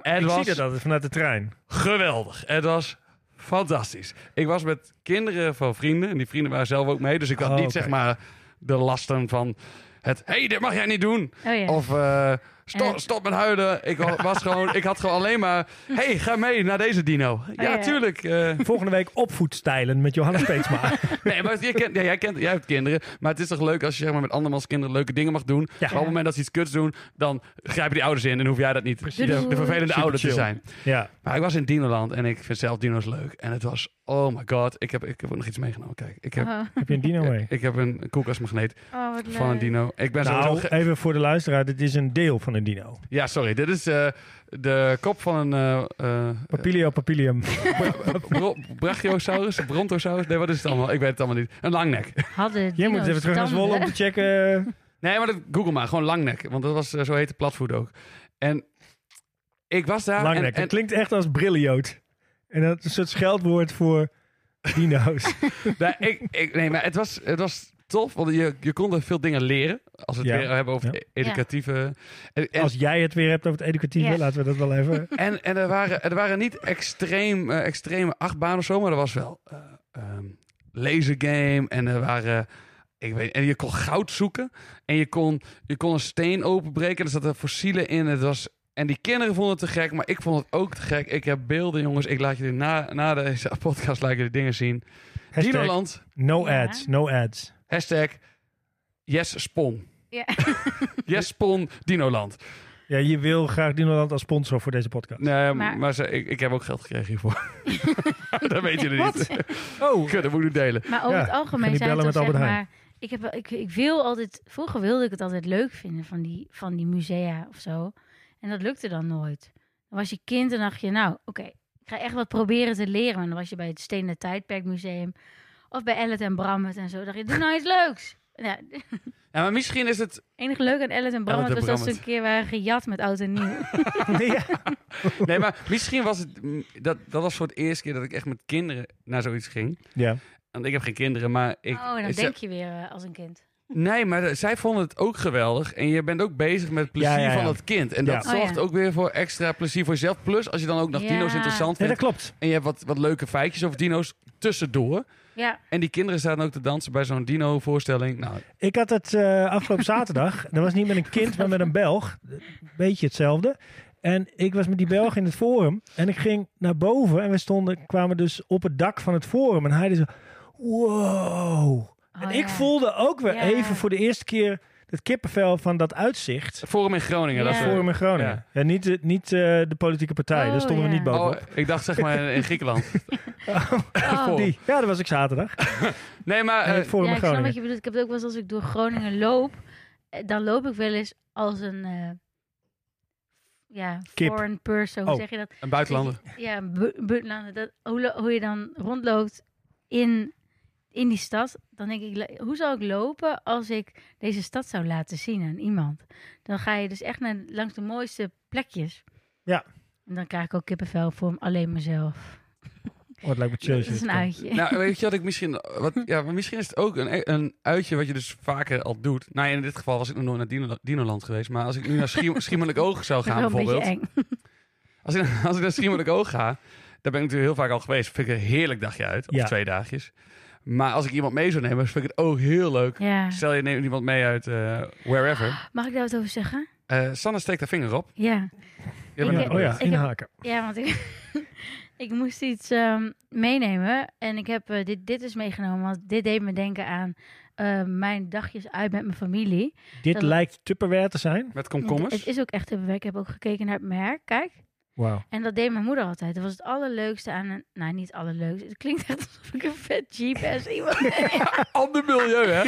Speaker 1: Het
Speaker 2: Ik
Speaker 1: was
Speaker 2: zie dat altijd vanuit de trein.
Speaker 1: geweldig. Het was fantastisch. Ik was met kinderen van vrienden. En die vrienden waren zelf ook mee. Dus ik had
Speaker 2: Oh,
Speaker 1: niet
Speaker 2: oké.
Speaker 1: zeg maar de lasten van het... Hé, hey, dit mag jij niet doen.
Speaker 3: Oh ja.
Speaker 1: Of eh, sto-
Speaker 3: En het-
Speaker 1: stop met huilen. Ik wa- was gewoon, ik had gewoon alleen maar. hey, ga mee naar deze dino. ja,
Speaker 3: Oh, ja.
Speaker 1: tuurlijk. eh.
Speaker 2: Volgende week opvoedstijlen met Johanna Steedsma.
Speaker 1: nee, maar je kent, ja, jij, kent, jij hebt kinderen. Maar het is toch leuk als je zeg maar, met andermans kinderen leuke dingen mag doen. Maar op het moment dat ze iets kuts doen, dan grijpen die ouders in. En hoef jij dat niet. De, de vervelende
Speaker 2: Super
Speaker 1: ouder te
Speaker 2: chill.
Speaker 1: zijn.
Speaker 2: ja.
Speaker 1: Maar ik was in Dinoland en ik vind zelf dino's leuk. En het was, oh my god. Ik heb, ik heb ook nog iets meegenomen. Kijk, ik heb,
Speaker 3: Oh,
Speaker 2: Heb je een dino mee?
Speaker 1: ik heb een koelkastmagneet
Speaker 3: oh, wat leuk.
Speaker 1: van een dino. Ik ben sowieso...
Speaker 2: Nou,
Speaker 1: ge-
Speaker 2: even voor de luisteraar, dit is een deel van een dino.
Speaker 1: Ja, sorry. Dit is eh, de kop van een... eh, eh,
Speaker 2: Papilio papilium.
Speaker 1: Bra- bro- Brachiosaurus, Brontosaurus. Nee, wat is het allemaal? Ik weet het allemaal niet. Een langnek.
Speaker 3: Hadden
Speaker 2: Jij moet
Speaker 3: dino's
Speaker 2: even terug naar
Speaker 3: tanden?
Speaker 2: Zwolle om te checken.
Speaker 1: Nee, maar dat, Google maar. Gewoon langnek. Want dat was eh, zo heette platvoet ook. En ik was daar.
Speaker 2: Langnek.
Speaker 1: En,
Speaker 2: Het
Speaker 1: en,
Speaker 2: klinkt echt als briljoot. En dat is een soort scheldwoord voor dino's.
Speaker 1: nou, ik, ik, nee, maar het was, het was tof. Want je, je kon er veel dingen leren. Als we het
Speaker 2: Ja.
Speaker 1: weer hebben over
Speaker 2: Ja.
Speaker 1: e- educatieve. En, en,
Speaker 2: Als jij het weer hebt over het educatieve,
Speaker 3: Ja.
Speaker 2: laten we dat wel even.
Speaker 1: en, en er, waren, er waren niet extreem, eh, extreme achtbanen of zo. Maar er was wel eh ehm lasergame. En er waren. Ik weet, en je kon goud zoeken. En je kon, je kon een steen openbreken. Er zaten fossielen in. Het was, en die kinderen vonden het te gek. Maar ik vond het ook te gek. Ik heb beelden, jongens. Ik laat jullie na, na deze podcast laat ik jullie dingen zien.
Speaker 2: Hashtag
Speaker 1: Dinoland.
Speaker 2: no
Speaker 3: Ja.
Speaker 2: ads, no ads.
Speaker 1: Hashtag Yes Spon.
Speaker 3: Ja.
Speaker 1: Yes Spon Dinoland.
Speaker 2: Ja, je wil graag Dinoland als sponsor voor deze podcast.
Speaker 1: Nee, maar,
Speaker 3: Maar-
Speaker 1: ze, ik, ik heb ook geld gekregen hiervoor. dat weten jullie
Speaker 3: Wat?
Speaker 1: niet.
Speaker 2: Oh,
Speaker 1: Kut, dat moet ik nu delen.
Speaker 3: Maar over
Speaker 2: Ja,
Speaker 3: het
Speaker 2: ik ga
Speaker 3: algemeen
Speaker 2: niet
Speaker 3: zijn het
Speaker 2: bellen
Speaker 3: toch
Speaker 2: met
Speaker 3: zeg
Speaker 2: Albert Heijn.
Speaker 3: maar... Ik, heb, wel- ik, ik wil altijd... Vroeger wilde ik het altijd leuk vinden van die, van die musea of zo. En dat lukte dan nooit. Dan was je kind en dacht je... Nou, oké, ik ga echt wat proberen te leren. En dan was je bij het Stenen Tijdperk Museum. Of bij Ellet en Brammet en zo. dacht je, doe nou iets leuks. Ja, het
Speaker 1: Ja, maar misschien is het.
Speaker 3: enige leuk aan Ellet en
Speaker 1: en
Speaker 3: Brammet was dat ze
Speaker 1: Brammet.
Speaker 3: een keer waren gejat met oud en nieuw.
Speaker 2: ja.
Speaker 1: Nee, maar misschien was het. mm, Dat, dat was voor het eerste keer dat ik echt met kinderen naar zoiets ging.
Speaker 2: ja.
Speaker 1: Want ik heb geen kinderen, maar ik.
Speaker 3: oh, en dan
Speaker 1: ze-
Speaker 3: denk je weer eh, als een kind.
Speaker 1: Nee, maar zij vonden het ook geweldig. En je bent ook bezig met het plezier
Speaker 2: Ja, ja, ja.
Speaker 1: van het kind. En
Speaker 2: Ja.
Speaker 1: dat
Speaker 3: Oh,
Speaker 1: zorgt
Speaker 3: ja.
Speaker 1: ook weer voor extra plezier voor jezelf. Plus, als je dan ook nog
Speaker 3: Ja.
Speaker 1: dino's interessant
Speaker 2: Nee,
Speaker 1: vindt.
Speaker 2: dat klopt.
Speaker 1: En je hebt wat, wat leuke feitjes over dino's tussendoor.
Speaker 3: Ja,
Speaker 1: En die kinderen staan ook te dansen bij zo'n dino-voorstelling. Nou,
Speaker 2: Ik had het eh, afgelopen zaterdag. Dat was niet met een kind, maar met een Belg. Beetje hetzelfde. En ik was met die Belg in het forum. En ik ging naar boven. En we stonden, kwamen dus op het dak van het forum. En hij dus, wow. En
Speaker 3: Oh,
Speaker 2: ik
Speaker 3: ja.
Speaker 2: voelde ook weer
Speaker 3: Ja.
Speaker 2: even voor de eerste keer het kippenvel van dat uitzicht.
Speaker 1: het Forum in Groningen.
Speaker 3: Ja.
Speaker 1: Dat is, eh,
Speaker 2: Forum in Groningen.
Speaker 1: Ja.
Speaker 2: Ja. niet de, niet eh, de politieke partij. Daar
Speaker 3: Oh,
Speaker 2: stonden we
Speaker 3: ja.
Speaker 2: niet bovenop.
Speaker 1: Oh, eh, ik dacht zeg maar in Griekenland.
Speaker 3: oh.
Speaker 1: Forum.
Speaker 2: Die. Ja, dat was ik zaterdag.
Speaker 1: Nee, maar
Speaker 2: in
Speaker 1: eh,
Speaker 2: het Forum
Speaker 3: ja,
Speaker 2: in
Speaker 3: ik snap wat
Speaker 2: Groningen.
Speaker 3: je bedoelt. Ik heb het ook wel eens als ik door Groningen loop, eh, dan loop ik wel eens als een eh, ja,
Speaker 2: Kip.
Speaker 3: foreign person. Hoe
Speaker 2: Oh.
Speaker 3: zeg je dat?
Speaker 1: een buitenlander.
Speaker 3: nou, Ja, bu- buitenlander. Dat, hoe, lo- hoe je dan rondloopt in in die stad, dan denk ik, le- hoe zou ik lopen als ik deze stad zou laten zien aan iemand? Dan ga je dus echt naar, langs de mooiste plekjes.
Speaker 2: Ja.
Speaker 3: En dan krijg ik ook kippenvel voor alleen mezelf.
Speaker 2: Oh, het lijkt me chill. als
Speaker 3: Dat
Speaker 2: je
Speaker 3: is een
Speaker 2: dat kan.
Speaker 3: uitje.
Speaker 1: Nou, weet je wat ik misschien... Wat, ja, maar misschien is het ook een, een uitje wat je dus vaker al doet. Nou, in dit geval was ik nog nooit naar Dino- Dinoland geweest. Maar als ik nu naar Schie- Schiemelijk Oog zou gaan
Speaker 3: wel een beetje
Speaker 1: bijvoorbeeld...
Speaker 3: eng.
Speaker 1: Als ik, als ik naar Schiemelijk Oog ga, daar ben ik natuurlijk heel vaak al geweest. Vind ik een heerlijk dagje uit, of
Speaker 2: Ja.
Speaker 1: twee dagjes. Maar als ik iemand mee zou nemen, vind ik het ook heel leuk.
Speaker 3: Ja.
Speaker 1: Stel, je neemt iemand mee uit eh, wherever.
Speaker 3: Mag ik daar wat over zeggen?
Speaker 1: Eh Sanne steekt haar vinger op.
Speaker 3: Ja.
Speaker 1: Je
Speaker 3: Ik-
Speaker 1: bent-
Speaker 2: Oh ja,
Speaker 3: Ik-
Speaker 2: inhaken.
Speaker 3: Ja, want ik, ik moest iets ehm, meenemen. En ik heb eh, dit, dit is meegenomen. Want dit deed me denken aan eh, mijn dagjes uit met mijn familie.
Speaker 2: Dit
Speaker 3: dat-
Speaker 2: lijkt Tupperware te zijn.
Speaker 1: Met
Speaker 3: Want
Speaker 1: komkommers.
Speaker 3: Het is ook echt een werk. Ik heb ook gekeken naar het merk. Kijk.
Speaker 2: Wauw.
Speaker 3: En dat deed mijn moeder altijd. Dat was het allerleukste aan een... Nou, niet het allerleukste. Het klinkt echt alsof ik een vet GPS iemand ben.
Speaker 1: Ander milieu, hè?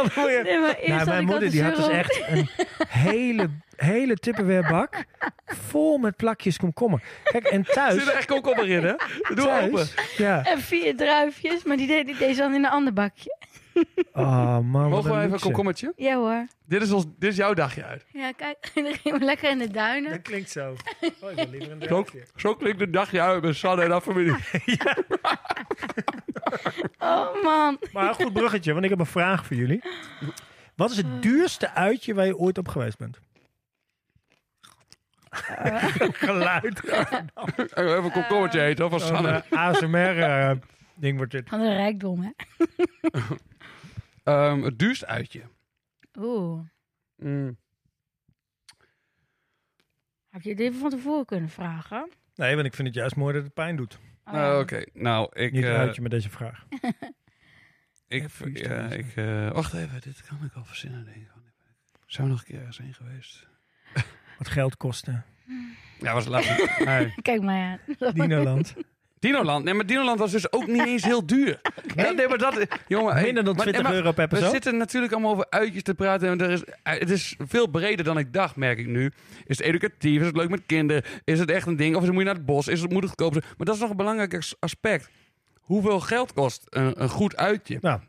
Speaker 2: Oh, mooie.
Speaker 3: Nee, maar eerst
Speaker 2: Nou,
Speaker 3: had
Speaker 2: mijn
Speaker 3: ik
Speaker 2: moeder
Speaker 3: altijd
Speaker 2: die had dus
Speaker 3: zeur om-
Speaker 2: echt een hele, hele Tupperware bak vol met plakjes komkommer. Kijk, en
Speaker 1: Zit er
Speaker 2: thuis...
Speaker 1: echt komkommer in, hè? Doe maar open.
Speaker 2: Thuis, Oh, ja.
Speaker 3: En vier druifjes. Maar die deed, die deed ze dan in een ander bakje.
Speaker 2: Oh man, wat
Speaker 1: Mogen we even een
Speaker 2: luxe.
Speaker 1: komkommertje?
Speaker 3: Ja hoor.
Speaker 1: Dit is, ons, dit is jouw dagje uit.
Speaker 3: Ja, kijk. En dan gingen we lekker in de duinen.
Speaker 2: Dat klinkt zo. Oh, ik wil liever een
Speaker 1: Zo,
Speaker 2: drankje.
Speaker 1: zo klinkt het dagje uit met Sanne en haar familie.
Speaker 3: Oh man.
Speaker 2: Maar een goed bruggetje, want ik heb een vraag voor jullie. Wat is
Speaker 1: Eh.
Speaker 2: het duurste uitje waar je ooit op geweest bent?
Speaker 1: Eh.
Speaker 2: Geluid.
Speaker 1: Even een komkommertje eten, hoor, van
Speaker 2: Zo'n
Speaker 1: Sanne.
Speaker 2: eh, ASMR eh, ding wordt dit.
Speaker 3: Van de rijkdom, hè?
Speaker 1: Ehm, het duurst uitje.
Speaker 3: Oeh.
Speaker 1: Mm.
Speaker 3: Heb je dit even van tevoren kunnen vragen?
Speaker 2: Nee, want ik vind het juist mooi dat het pijn doet.
Speaker 3: Oh,
Speaker 1: Nou, Oké, nou, ik...
Speaker 2: Niet
Speaker 1: eh,
Speaker 2: het uitje met deze vraag.
Speaker 1: Ik,
Speaker 2: Even
Speaker 1: v-
Speaker 2: iets
Speaker 1: ja,
Speaker 2: lezen.
Speaker 1: ik, eh, wacht even, dit kan ik al verzinnen. Denk ik. Zou nog een keer ergens heen geweest?
Speaker 2: Wat geld kostte.
Speaker 1: Ja, was laat. Nee.
Speaker 3: Kijk maar aan.
Speaker 2: Dinoland.
Speaker 1: Dinoland. Nee, maar Dinoland was dus ook niet eens heel duur. Dat- nee, maar dat... Jongen, hey,
Speaker 2: Minder dan
Speaker 1: maar-
Speaker 2: 20
Speaker 1: maar
Speaker 2: euro per
Speaker 1: We
Speaker 2: persoon.
Speaker 1: zitten natuurlijk allemaal over uitjes te praten. En er is, het is veel breder dan ik dacht, merk ik nu. Is het educatief? Is het leuk met kinderen? Is het echt een ding? Of moet je naar het bos? Is het moedig goedkoop? zijn? Maar dat is nog een belangrijk as- aspect. Hoeveel geld kost een, een goed uitje?
Speaker 2: Nou,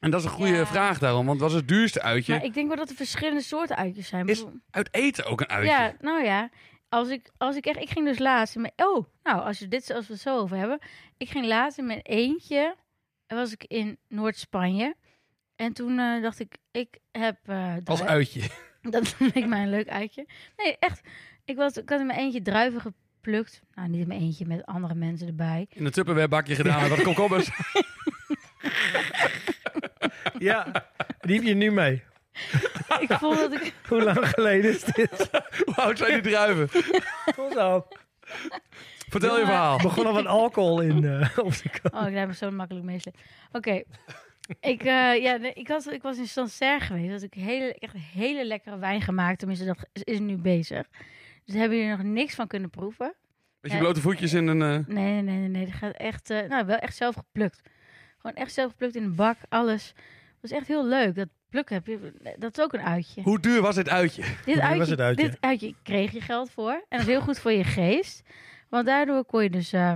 Speaker 1: En dat is een goede
Speaker 3: Ja.
Speaker 1: vraag daarom. Want wat is het duurste uitje?
Speaker 3: Maar Nou, ik denk wel dat er verschillende soorten uitjes zijn.
Speaker 1: Is-
Speaker 3: Bijvoorbeeld-
Speaker 1: Uit eten ook een uitje.
Speaker 3: ja, nou ja. Als ik, als ik echt, ik ging dus laatst in mijn, oh, nou, als we dit, als we het zo over hebben. Ik ging laatst in mijn eentje, en was ik in Noord-Spanje. En toen eh, dacht ik, ik heb... eh,
Speaker 1: Als
Speaker 3: drui-
Speaker 1: uitje.
Speaker 3: Dat leek mij een leuk uitje. Nee, echt. Ik, was, ik had in mijn eentje druiven geplukt. Nou, niet in mijn eentje, met andere mensen erbij.
Speaker 1: In een tupperwarebakje gedaan met wat komkommers.
Speaker 2: ja, die heb je nu mee.
Speaker 3: Ik voel dat ik...
Speaker 2: Hoe lang geleden is dit?
Speaker 1: Hoe oud zijn die druiven?
Speaker 2: Kom zo.
Speaker 1: Vertel je verhaal.
Speaker 2: Er begon al wat alcohol in eh op de kant.
Speaker 3: Oh, ik laat me zo makkelijk meeslepen. Oké. ik, eh, ja, nee, ik, had, ik was in Sancerre geweest. Had ik hele, echt hele lekkere wijn gemaakt. Tenminste, dat is, is nu bezig. Dus hebben jullie er nog niks van kunnen proeven?
Speaker 1: Met je blote voetjes in een... eh,
Speaker 3: Nee, nee, nee, nee. nee. Dat gaat echt... eh, nou, wel echt zelf geplukt. Gewoon echt zelf geplukt in een bak. Alles. Dat is echt heel leuk. Dat plukken heb je... Dat is ook een uitje.
Speaker 1: Hoe duur was dit uitje?
Speaker 3: Dit
Speaker 2: Wanneer
Speaker 3: uitje,
Speaker 2: was het uitje?
Speaker 3: dit uitje kreeg je geld voor. En dat is heel goed voor je geest. Want daardoor kon je dus... eh,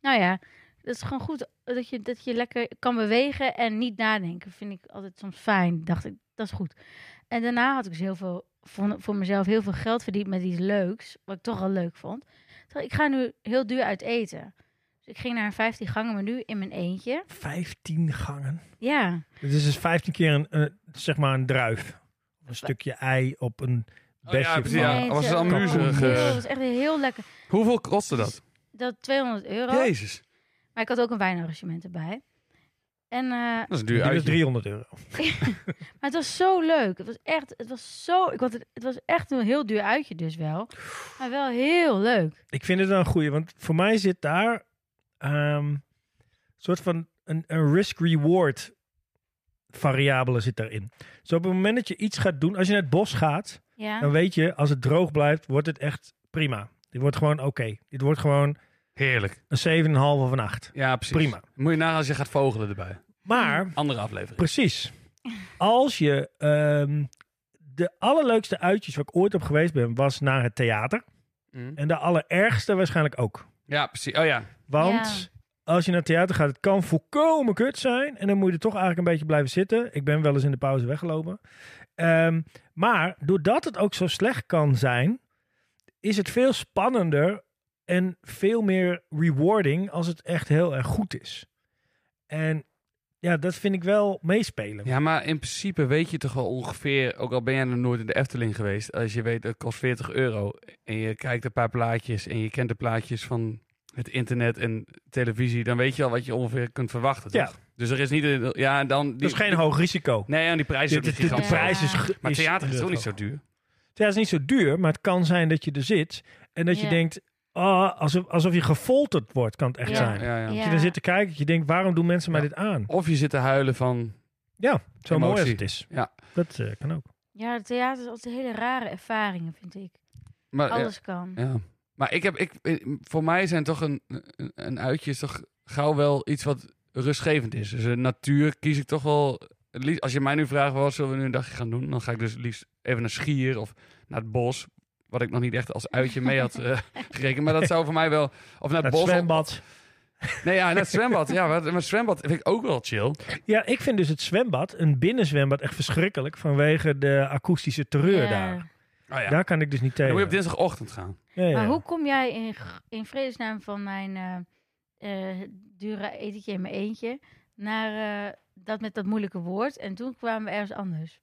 Speaker 3: nou ja, het is gewoon goed dat je, dat je lekker kan bewegen en niet nadenken. Vind ik altijd soms fijn. Dacht ik, dat is goed. En daarna had ik dus heel veel... Vond, voor mezelf heel veel geld verdiend met iets leuks. Wat ik toch al leuk vond. Ik dacht, ik ga nu heel duur uit eten. Dus ik ging naar een 15 gangen menu in mijn eentje.
Speaker 2: 15 gangen.
Speaker 3: Ja,
Speaker 2: Dit is dus 15 keer een, eh, zeg maar een druif. Een stukje ei op een besje.
Speaker 1: Oh ja, precies, ja.
Speaker 2: van-
Speaker 3: het
Speaker 1: was
Speaker 3: is-
Speaker 1: het allemaal
Speaker 3: het was
Speaker 2: muzerig,
Speaker 3: heel-
Speaker 1: eh?
Speaker 3: het was echt heel lekker.
Speaker 1: Hoeveel kostte dat?
Speaker 3: Dat 200 euro.
Speaker 1: Jezus.
Speaker 3: Maar ik had ook een wijnarrangement erbij. En, eh, maar
Speaker 1: Dat is een
Speaker 2: Dit
Speaker 1: duur
Speaker 2: is
Speaker 1: uitje.
Speaker 2: 300 euro.
Speaker 3: het was zo leuk. Het was echt, het was zo, ik had het, het was echt een heel duur uitje dus wel. Maar wel heel leuk.
Speaker 2: Ik vind het wel een goeie, want voor mij zit daar ehm, een soort van een, een risk-reward variabele zit daarin. Zo op het moment dat je iets gaat doen, als je naar het bos gaat,
Speaker 3: Ja.
Speaker 2: dan weet je, als het droog blijft, wordt het echt prima. Dit wordt gewoon oké. Dit wordt gewoon
Speaker 1: Heerlijk.
Speaker 2: een 7,5 of een 8.
Speaker 1: Ja, precies.
Speaker 2: Prima.
Speaker 1: Moet je nagaan als je gaat vogelen erbij.
Speaker 2: Maar,
Speaker 1: Andere aflevering.
Speaker 2: precies, als je... ehm, de allerleukste uitjes waar ik ooit op geweest ben, was naar het theater.
Speaker 1: Mm.
Speaker 2: En de allerergste waarschijnlijk ook.
Speaker 1: Ja, precies. Oh ja.
Speaker 2: Want als je naar het theater gaat, het kan volkomen kut zijn. En dan moet je er toch eigenlijk een beetje blijven zitten. Ik ben wel eens in de pauze weggelopen. Ehm, maar doordat het ook zo slecht kan zijn, is het veel spannender en veel meer rewarding als het echt heel erg goed is. En ja, dat vind ik wel meespelen.
Speaker 1: Ja, maar in principe weet je toch wel ongeveer, ook al ben jij nog nooit in de Efteling geweest, als je weet dat kost 40 euro en je kijkt een paar plaatjes en je kent de plaatjes van het internet en televisie, dan weet je al wat je ongeveer kunt verwachten.
Speaker 2: Ja.
Speaker 1: Toch? Dus er is niet. een- Ja, en dan. Die,
Speaker 2: dat is geen hoog risico.
Speaker 1: Nee, en die prijzen
Speaker 2: de,
Speaker 1: zijn
Speaker 2: de- de
Speaker 1: gigantisch.
Speaker 2: prijs is,
Speaker 3: Ja.
Speaker 1: Maar theater is toch niet zo duur?
Speaker 2: Ja, het is niet zo duur, maar het kan zijn dat je er zit en dat je
Speaker 3: Ja.
Speaker 2: denkt, ah, alsof, alsof je gefolterd wordt, kan het echt
Speaker 3: Ja.
Speaker 2: zijn.
Speaker 1: Ja, ja.
Speaker 3: Ja.
Speaker 2: Dat je er zit te kijken, dat je denkt, waarom doen mensen mij
Speaker 1: Ja.
Speaker 2: dit aan?
Speaker 1: Of je zit te huilen van.
Speaker 2: Ja, zo
Speaker 1: Emotie.
Speaker 2: mooi als het is.
Speaker 1: Ja.
Speaker 2: Dat eh, kan ook.
Speaker 3: Ja, het theater is altijd hele rare ervaringen, vind ik.
Speaker 2: Ah,
Speaker 1: Maar, ja.
Speaker 3: Alles kan.
Speaker 1: Ja. Maar ik heb, ik, voor mij zijn toch een, een, een uitje is toch gauw wel iets wat rustgevend is. Dus de natuur kies ik toch wel. het liefst- Als je mij nu vraagt, wat zullen we nu een dagje gaan doen? Dan ga ik dus het liefst even naar Schier of naar het bos. Wat ik nog niet echt als uitje mee had eh, gerekend. Maar dat zou voor mij wel... Of naar het bos.
Speaker 2: Dat Nou, zwembad.
Speaker 1: Nee, ja, naar het zwembad. Ja, maar maar het zwembad vind ik ook wel chill. Oh
Speaker 2: Ja, ik vind dus het zwembad, een binnenzwembad, echt verschrikkelijk vanwege de akoestische terreur
Speaker 3: Ja.
Speaker 2: daar.
Speaker 1: Oh ja. Dan
Speaker 2: Daar kan ik dus niet
Speaker 1: moet
Speaker 2: tegen.
Speaker 1: je op dinsdagochtend gaan.
Speaker 2: Ja, ja.
Speaker 3: Maar hoe kom jij in, g- in vredesnaam van mijn eh, eh, dure etentje in mijn eentje naar eh, dat met dat moeilijke woord? En toen kwamen we ergens anders.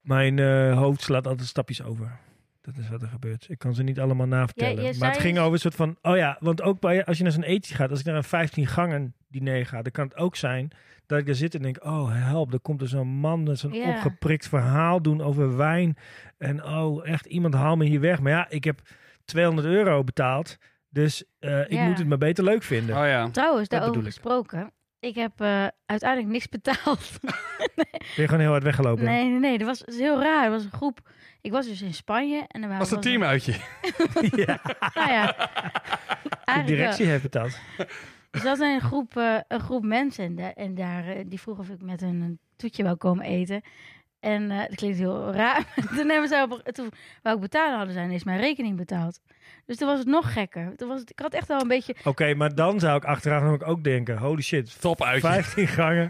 Speaker 2: Mijn eh, hoofd slaat altijd stapjes over. Dat is wat er gebeurt. Ik kan ze niet allemaal navertellen.
Speaker 3: Ja, je
Speaker 2: maar het
Speaker 3: zei-
Speaker 2: ging over een soort van... Oh ja, want ook bij, als je naar zo'n eten gaat... Als ik naar een 15 gangen diner ga... Dan kan het ook zijn dat ik daar zit en denk... Oh help, er komt er zo'n man met zo'n
Speaker 3: Ja.
Speaker 2: opgeprikt verhaal doen over wijn. En oh, echt, iemand haal me hier weg. Maar ja, ik heb 200 euro betaald. Dus eh, ik
Speaker 3: Ja.
Speaker 2: moet het maar beter leuk vinden.
Speaker 1: Oh ja.
Speaker 3: Trouwens, daarover
Speaker 2: bedoel ik.
Speaker 3: gesproken. Ik heb eh, uiteindelijk niks betaald.
Speaker 2: Ben je gewoon heel hard weggelopen?
Speaker 3: nee, nee, nee. Dat was dat is heel raar. Er was een groep. Ik was dus in Spanje. En er waren
Speaker 1: Was het
Speaker 3: was-
Speaker 1: team uitje?
Speaker 2: ja,
Speaker 3: Nou ja.
Speaker 2: de
Speaker 3: Eigenlijk wel.
Speaker 2: directie heeft betaald.
Speaker 3: Er zat een groep, eh, een groep mensen en, da- en daar, eh, die vroeg of ik met hun een toetje wou komen eten. En eh, dat klinkt heel raar. maar toen, hebben zij op, toen wou ik betalen, hadden zij ineens mijn rekening betaald. Dus toen was het nog gekker. Toen was het, ik had echt al een beetje...
Speaker 2: Oké, maar dan zou ik achteraf namelijk ook denken... Holy shit,
Speaker 1: Top uitje.
Speaker 2: 15 gangen.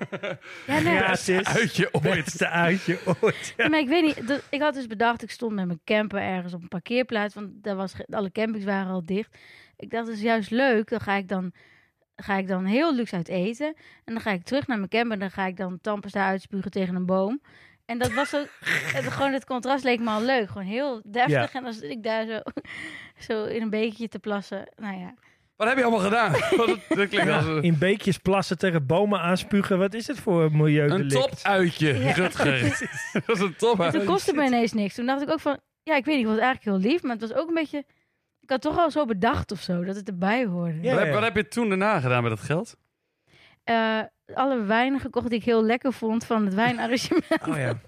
Speaker 3: Ja, nee,
Speaker 2: Gratis.
Speaker 1: Uitje ooit.
Speaker 2: Beste uitje ooit.
Speaker 3: nee, maar ik weet niet. dat- ik had dus bedacht, ik stond met mijn camper ergens op een parkeerplaats. Want daar was, ge- alle campings waren al dicht. Ik dacht, dat is juist leuk. Dan ga ik dan, ga ik dan heel luxe uit eten. En dan ga ik terug naar mijn camper. En dan ga ik dan tampers daar uitspugen tegen een boom. En dat was ook... het, gewoon het contrast leek me al leuk. Gewoon heel deftig. En dan zit ik daar zo, zo in een beekje te plassen. Nou ja.
Speaker 1: Wat heb je allemaal gedaan? Dat, dat klinkt als een,
Speaker 2: In beekjes plassen tegen bomen aanspugen. Wat is het voor
Speaker 1: een
Speaker 2: milieudelict?
Speaker 1: top uitje,
Speaker 3: Ja.
Speaker 1: Rutger. Dat is een top
Speaker 3: En toen
Speaker 1: uitje.
Speaker 3: kostte het me ineens niks. Toen dacht ik ook van... Ja, ik weet niet. Ik was eigenlijk heel lief. Maar het was ook een beetje... Ik had toch al zo bedacht of zo. Dat het erbij hoorde.
Speaker 2: Ja,
Speaker 1: Wat, heb,
Speaker 2: ja.
Speaker 1: wat heb je toen daarna gedaan met dat geld?
Speaker 3: eh, alle wijn gekocht die ik heel lekker vond van het wijnarrangement.
Speaker 2: Oh ja.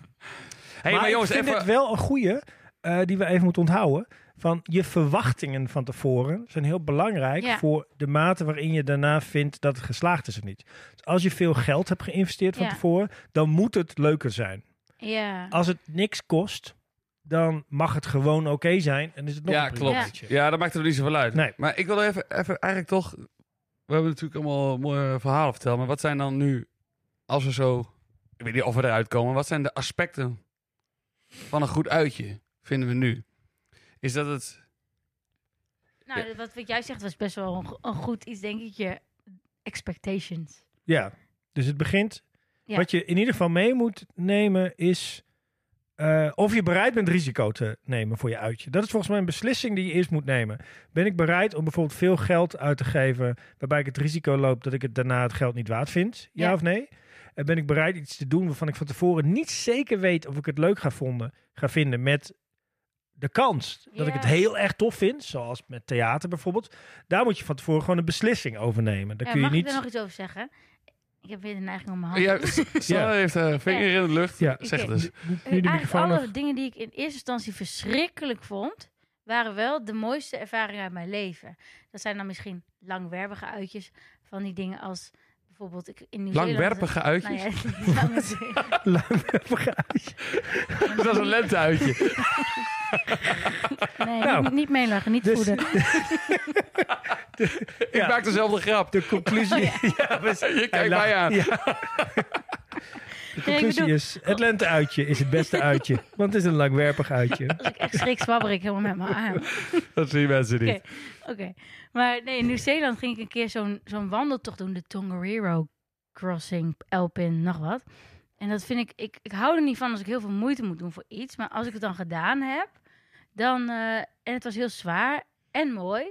Speaker 1: Hey,
Speaker 2: maar
Speaker 1: maar, jongens,
Speaker 2: ik vind
Speaker 1: even...
Speaker 2: dit wel een goeie eh, die we even moeten onthouden. Van je verwachtingen van tevoren zijn heel belangrijk
Speaker 3: Ja.
Speaker 2: voor de mate waarin je daarna vindt dat het geslaagd is of niet. Dus als je veel geld hebt geïnvesteerd van
Speaker 3: Ja.
Speaker 2: tevoren, dan moet het leuker zijn.
Speaker 3: ja.
Speaker 2: Als het niks kost, dan mag het gewoon oké zijn en is het nog
Speaker 1: Ja,
Speaker 2: een prima
Speaker 1: klopt.
Speaker 2: uitje.
Speaker 1: Ja. dat maakt er niet zoveel uit.
Speaker 2: Nee.
Speaker 1: Maar ik wil even, even eigenlijk toch... We hebben natuurlijk allemaal mooie verhalen verteld. Maar wat zijn dan nu, als we zo... Ik weet niet of we eruit komen. Wat zijn de aspecten van een goed uitje, vinden we nu? Is dat het...
Speaker 3: Nou, wat, wat jij zegt was best wel een, go- een goed iets, denk ik. Je expectations.
Speaker 2: Ja, dus het begint.
Speaker 3: Ja.
Speaker 2: Wat je in ieder geval mee moet nemen is. eh, of je bereid bent risico te nemen voor je uitje. Dat is volgens mij een beslissing die je eerst moet nemen. Ben ik bereid om bijvoorbeeld veel geld uit te geven. waarbij ik het risico loop dat ik het daarna het geld niet waard vind? Ja,
Speaker 3: Ja.
Speaker 2: of nee? En ben ik bereid iets te doen waarvan ik van tevoren niet zeker weet of ik het leuk ga, vonden, ga vinden met de kans dat ik
Speaker 3: Ja.
Speaker 2: het heel erg tof vind, zoals met theater bijvoorbeeld. Daar moet je van tevoren gewoon een beslissing over nemen. Daar
Speaker 3: Ja,
Speaker 2: kun je
Speaker 3: Eh, mag
Speaker 2: niet...
Speaker 3: ik er nog iets over zeggen? Ik heb weer de neiging om mijn hand. Eh,
Speaker 1: Ja, S- Sanne
Speaker 2: Ja.
Speaker 1: heeft haar vinger in de lucht.
Speaker 2: Ja.
Speaker 1: Zeg het
Speaker 3: Oké.
Speaker 1: eens.
Speaker 2: nu de
Speaker 3: Eigenlijk
Speaker 2: microfoon
Speaker 3: Eh, alle
Speaker 2: nog-
Speaker 3: dingen die ik in eerste instantie verschrikkelijk vond, waren wel de mooiste ervaringen uit mijn leven. Dat zijn dan misschien langwerpige uitjes van die dingen als bijvoorbeeld ik in Nieuw-Zeeland...
Speaker 1: Langwerpige
Speaker 3: Nou
Speaker 1: uitjes?
Speaker 3: ja, lange-
Speaker 2: Langwerpige
Speaker 1: Dat is een lenteuitje.
Speaker 3: Nee,
Speaker 2: Nou.
Speaker 3: niet, niet meelachen, niet
Speaker 2: Dus-
Speaker 3: voeden.
Speaker 2: Ja.
Speaker 1: Ik maak dezelfde grap.
Speaker 2: De conclusie, ja, we-
Speaker 1: Je
Speaker 2: Hij
Speaker 1: kijkt mij
Speaker 2: lacht.
Speaker 1: aan.
Speaker 2: Ja. De
Speaker 3: Nee, ik
Speaker 2: conclusie
Speaker 3: bedoel-
Speaker 2: is, het lenteuitje is het beste uitje. Want het is een langwerpig uitje.
Speaker 3: Als ik echt schrik, zwabber ik helemaal met mijn arm.
Speaker 1: Dat zien mensen niet.
Speaker 3: Oké. Oké, maar nee, in Nieuw-Zeeland ging ik een keer zo'n zo'n wandeltocht doen. De Tongariro Crossing, Elpin, nog wat. En dat vind ik, ik, ik hou er niet van als ik heel veel moeite moet doen voor iets. Maar als ik het dan gedaan heb, dan, eh, en het was heel zwaar en mooi.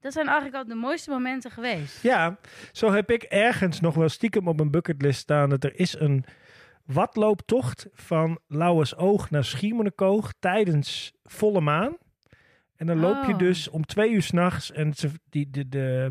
Speaker 3: Dat zijn eigenlijk al de mooiste momenten geweest.
Speaker 2: Ja, zo heb ik ergens nog wel stiekem op mijn bucketlist staan... dat er is een watlooptocht van Lauwersoog naar Schiermonnikoog... tijdens volle maan. En dan loop je
Speaker 3: Oh.
Speaker 2: dus om twee uur s'nachts... en ze, die, de, de,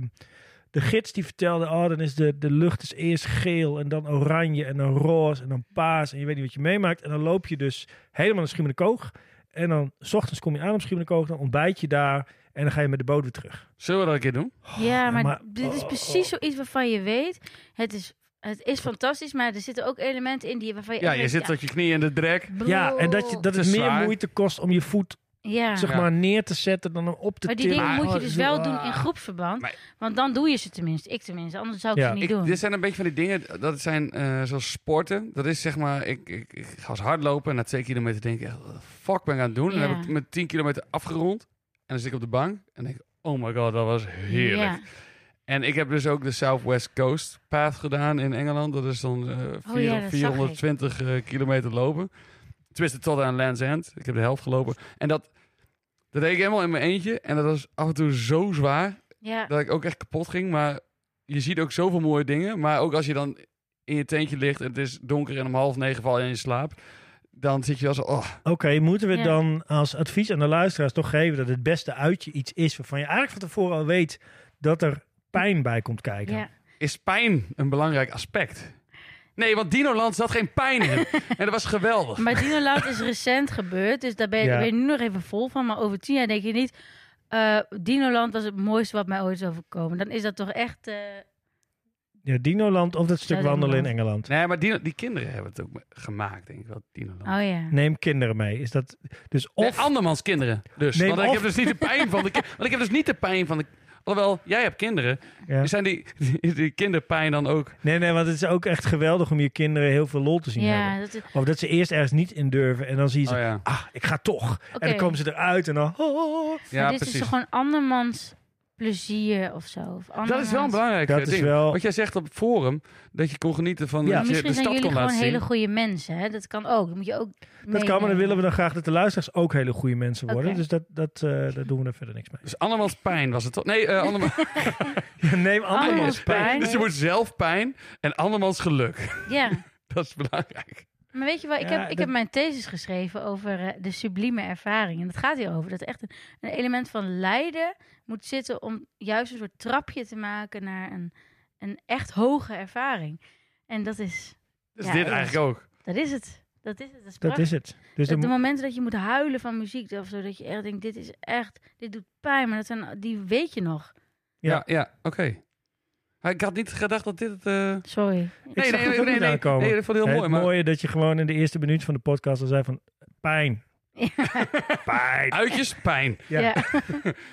Speaker 2: de gids die vertelde... oh, dan is de, de lucht is eerst geel en dan oranje en dan roze en dan paas... en je weet niet wat je meemaakt. En dan loop je dus helemaal naar Schiermonnikoog... En dan, s ochtends kom je aan op Schiermonnikoog, dan ontbijt je daar en dan ga je met de boot weer terug.
Speaker 1: Zullen we dat een keer doen?
Speaker 3: Ja, maar,
Speaker 2: Oh, maar-
Speaker 3: dit is
Speaker 2: oh,
Speaker 3: precies zoiets waarvan je weet. Het is, het is fantastisch, maar er zitten ook elementen in die waarvan je.
Speaker 1: Ja,
Speaker 3: echt
Speaker 1: je
Speaker 3: weet,
Speaker 1: zit tot je knieën in de drek.
Speaker 2: Ja, en dat, je, dat
Speaker 1: Het
Speaker 2: het
Speaker 1: is
Speaker 2: meer
Speaker 1: zwaar.
Speaker 2: moeite kost om je voet
Speaker 3: Oh. Ja.
Speaker 2: zeg
Speaker 1: Ja.
Speaker 2: maar, neer te zetten dan hem op te
Speaker 3: Maar die
Speaker 2: tillen.
Speaker 3: dingen moet je
Speaker 2: Oh,
Speaker 3: dus
Speaker 2: zo-
Speaker 3: wel
Speaker 2: ah.
Speaker 3: doen in groepsverband.
Speaker 1: Maar-
Speaker 3: Want dan doe je ze tenminste. Ik tenminste. Anders zou ik
Speaker 2: Ja.
Speaker 3: ze niet
Speaker 1: Ik,
Speaker 3: doen.
Speaker 1: dit zijn een beetje van die dingen, dat zijn eh, zoals sporten. Dat is zeg maar, ik, ik, ik ga eens hardlopen en na twee kilometer denk ik, "Wat de fuck ben ik aan het doen? En dan
Speaker 3: Ja.
Speaker 1: heb ik met tien kilometer afgerond. En dan zit ik op de bank en denk ik, oh my god, dat was heerlijk.
Speaker 3: Ja.
Speaker 1: En ik heb dus ook de Southwest Coast Path gedaan in Engeland. Dat is dan eh,
Speaker 3: Oh
Speaker 1: vier-
Speaker 3: ja, dat
Speaker 1: 420 eh, kilometer lopen. Tenminste, tot aan Land's End. Ik heb de helft gelopen. En dat, dat deed ik helemaal in mijn eentje. En dat was af en toe zo zwaar
Speaker 3: Ja.
Speaker 1: dat ik ook echt kapot ging. Maar je ziet ook zoveel mooie dingen. Maar ook als je dan in je tentje ligt en het is donker en om half negen val je in slaap. Dan zit je wel zo, oh,
Speaker 2: Ah. Oké, moeten we
Speaker 3: Ja.
Speaker 2: dan als advies aan de luisteraars toch geven dat het beste uitje iets is waarvan je eigenlijk van tevoren al weet dat er pijn bij komt kijken?
Speaker 3: ja.
Speaker 1: is pijn een belangrijk aspect? Nee, want Dinoland zat geen pijn in. en dat was geweldig.
Speaker 3: Maar Dino Loud is recent gebeurd. Dus daar ben, je-
Speaker 2: Ja.
Speaker 3: daar ben je nu nog even vol van. Maar over tien jaar denk je niet... eh Dinoland was het mooiste wat mij ooit is overkomen. Dan is dat toch echt... eh,
Speaker 2: Ja, Dinoland of dat stuk
Speaker 3: Ja,
Speaker 2: wandelen in
Speaker 3: Dinoland.
Speaker 2: Engeland.
Speaker 1: Nee, maar die, die kinderen hebben het ook me- gemaakt, denk ik wel. Dinoland.
Speaker 3: Oh ja.
Speaker 2: Neem kinderen mee. Is dat dus
Speaker 1: Nee,
Speaker 2: of
Speaker 1: andermans kinderen. Dus.
Speaker 2: Nee,
Speaker 1: want
Speaker 2: maar
Speaker 1: ik
Speaker 2: of-
Speaker 1: heb dus niet de pijn van de ki- Want ik heb dus niet de pijn van de. Alhoewel, jij hebt kinderen.
Speaker 2: Ja.
Speaker 1: Zijn die, die, die kinderpijn dan ook.
Speaker 2: nee, nee, want het is ook echt geweldig om je kinderen heel veel lol te zien
Speaker 3: Ja,
Speaker 2: hebben.
Speaker 3: dat is...
Speaker 2: Of dat ze eerst ergens niet in durven en dan zie je ze,
Speaker 1: Oh ja.
Speaker 2: ah, ik ga toch. En dan
Speaker 3: Oké.
Speaker 2: komen ze eruit en dan. oh.
Speaker 1: Ja,
Speaker 3: maar dit is
Speaker 1: precies.
Speaker 3: toch gewoon andermans plezier of zo.
Speaker 1: Dat
Speaker 3: Of
Speaker 1: is wel een
Speaker 3: andermans-
Speaker 1: belangrijk
Speaker 2: Dat
Speaker 1: eh,
Speaker 2: is
Speaker 1: ding.
Speaker 2: wel-
Speaker 1: Wat jij zegt op het forum, dat je kon genieten van
Speaker 2: Ja.
Speaker 1: dat je de
Speaker 3: Misschien zijn
Speaker 1: stad
Speaker 3: jullie
Speaker 1: kon
Speaker 3: gewoon
Speaker 1: laten zien.
Speaker 3: hele goede mensen. Hè? Dat kan ook. Dat moet je ook
Speaker 2: Dat kan, maar dan
Speaker 3: meenemen.
Speaker 2: willen we dan graag dat de luisteraars ook hele goede mensen worden.
Speaker 3: Oké.
Speaker 2: Dus dat, dat, eh, daar doen we er verder niks mee.
Speaker 1: Dus andermans pijn was het toch? Nee, eh, andermans
Speaker 2: Ja, neem andere
Speaker 3: Andermans
Speaker 2: spijt.
Speaker 3: pijn.
Speaker 1: Dus je moet zelf pijn en andermans geluk.
Speaker 3: Ja.
Speaker 1: Dat is belangrijk.
Speaker 3: Maar weet je wel, ik,
Speaker 2: Ja,
Speaker 3: heb, ik
Speaker 2: dat-
Speaker 3: heb mijn thesis geschreven over eh, de sublieme ervaring. En dat gaat hierover. Dat er echt een, een element van lijden moet zitten om juist een soort trapje te maken naar een, een echt hoge ervaring. En dat is,
Speaker 1: Dus
Speaker 3: Ja,
Speaker 1: dit
Speaker 3: ja.
Speaker 1: eigenlijk ook.
Speaker 3: dat is het. Dat is het. Dat
Speaker 2: Dat
Speaker 3: is, prachtig.
Speaker 2: is het. Dus
Speaker 3: Dat
Speaker 2: dan
Speaker 3: de
Speaker 2: moet-
Speaker 3: momenten dat je moet huilen van muziek of zo, dat je echt denkt, dit is echt, dit doet pijn, maar dat zijn, die weet je nog.
Speaker 2: Ja.
Speaker 1: Ja, ja, oké. Maar Ik had niet gedacht dat dit het... eh,
Speaker 3: Sorry.
Speaker 2: Ik zag het ook niet aankomen.
Speaker 1: nee, dat vond ik
Speaker 2: Nee,
Speaker 1: heel mooi.
Speaker 2: het
Speaker 1: Maar
Speaker 2: mooie dat je gewoon in de eerste minuut van de podcast al zei van pijn. Pijn.
Speaker 1: uitjes, pijn.
Speaker 2: Ja.
Speaker 3: ja.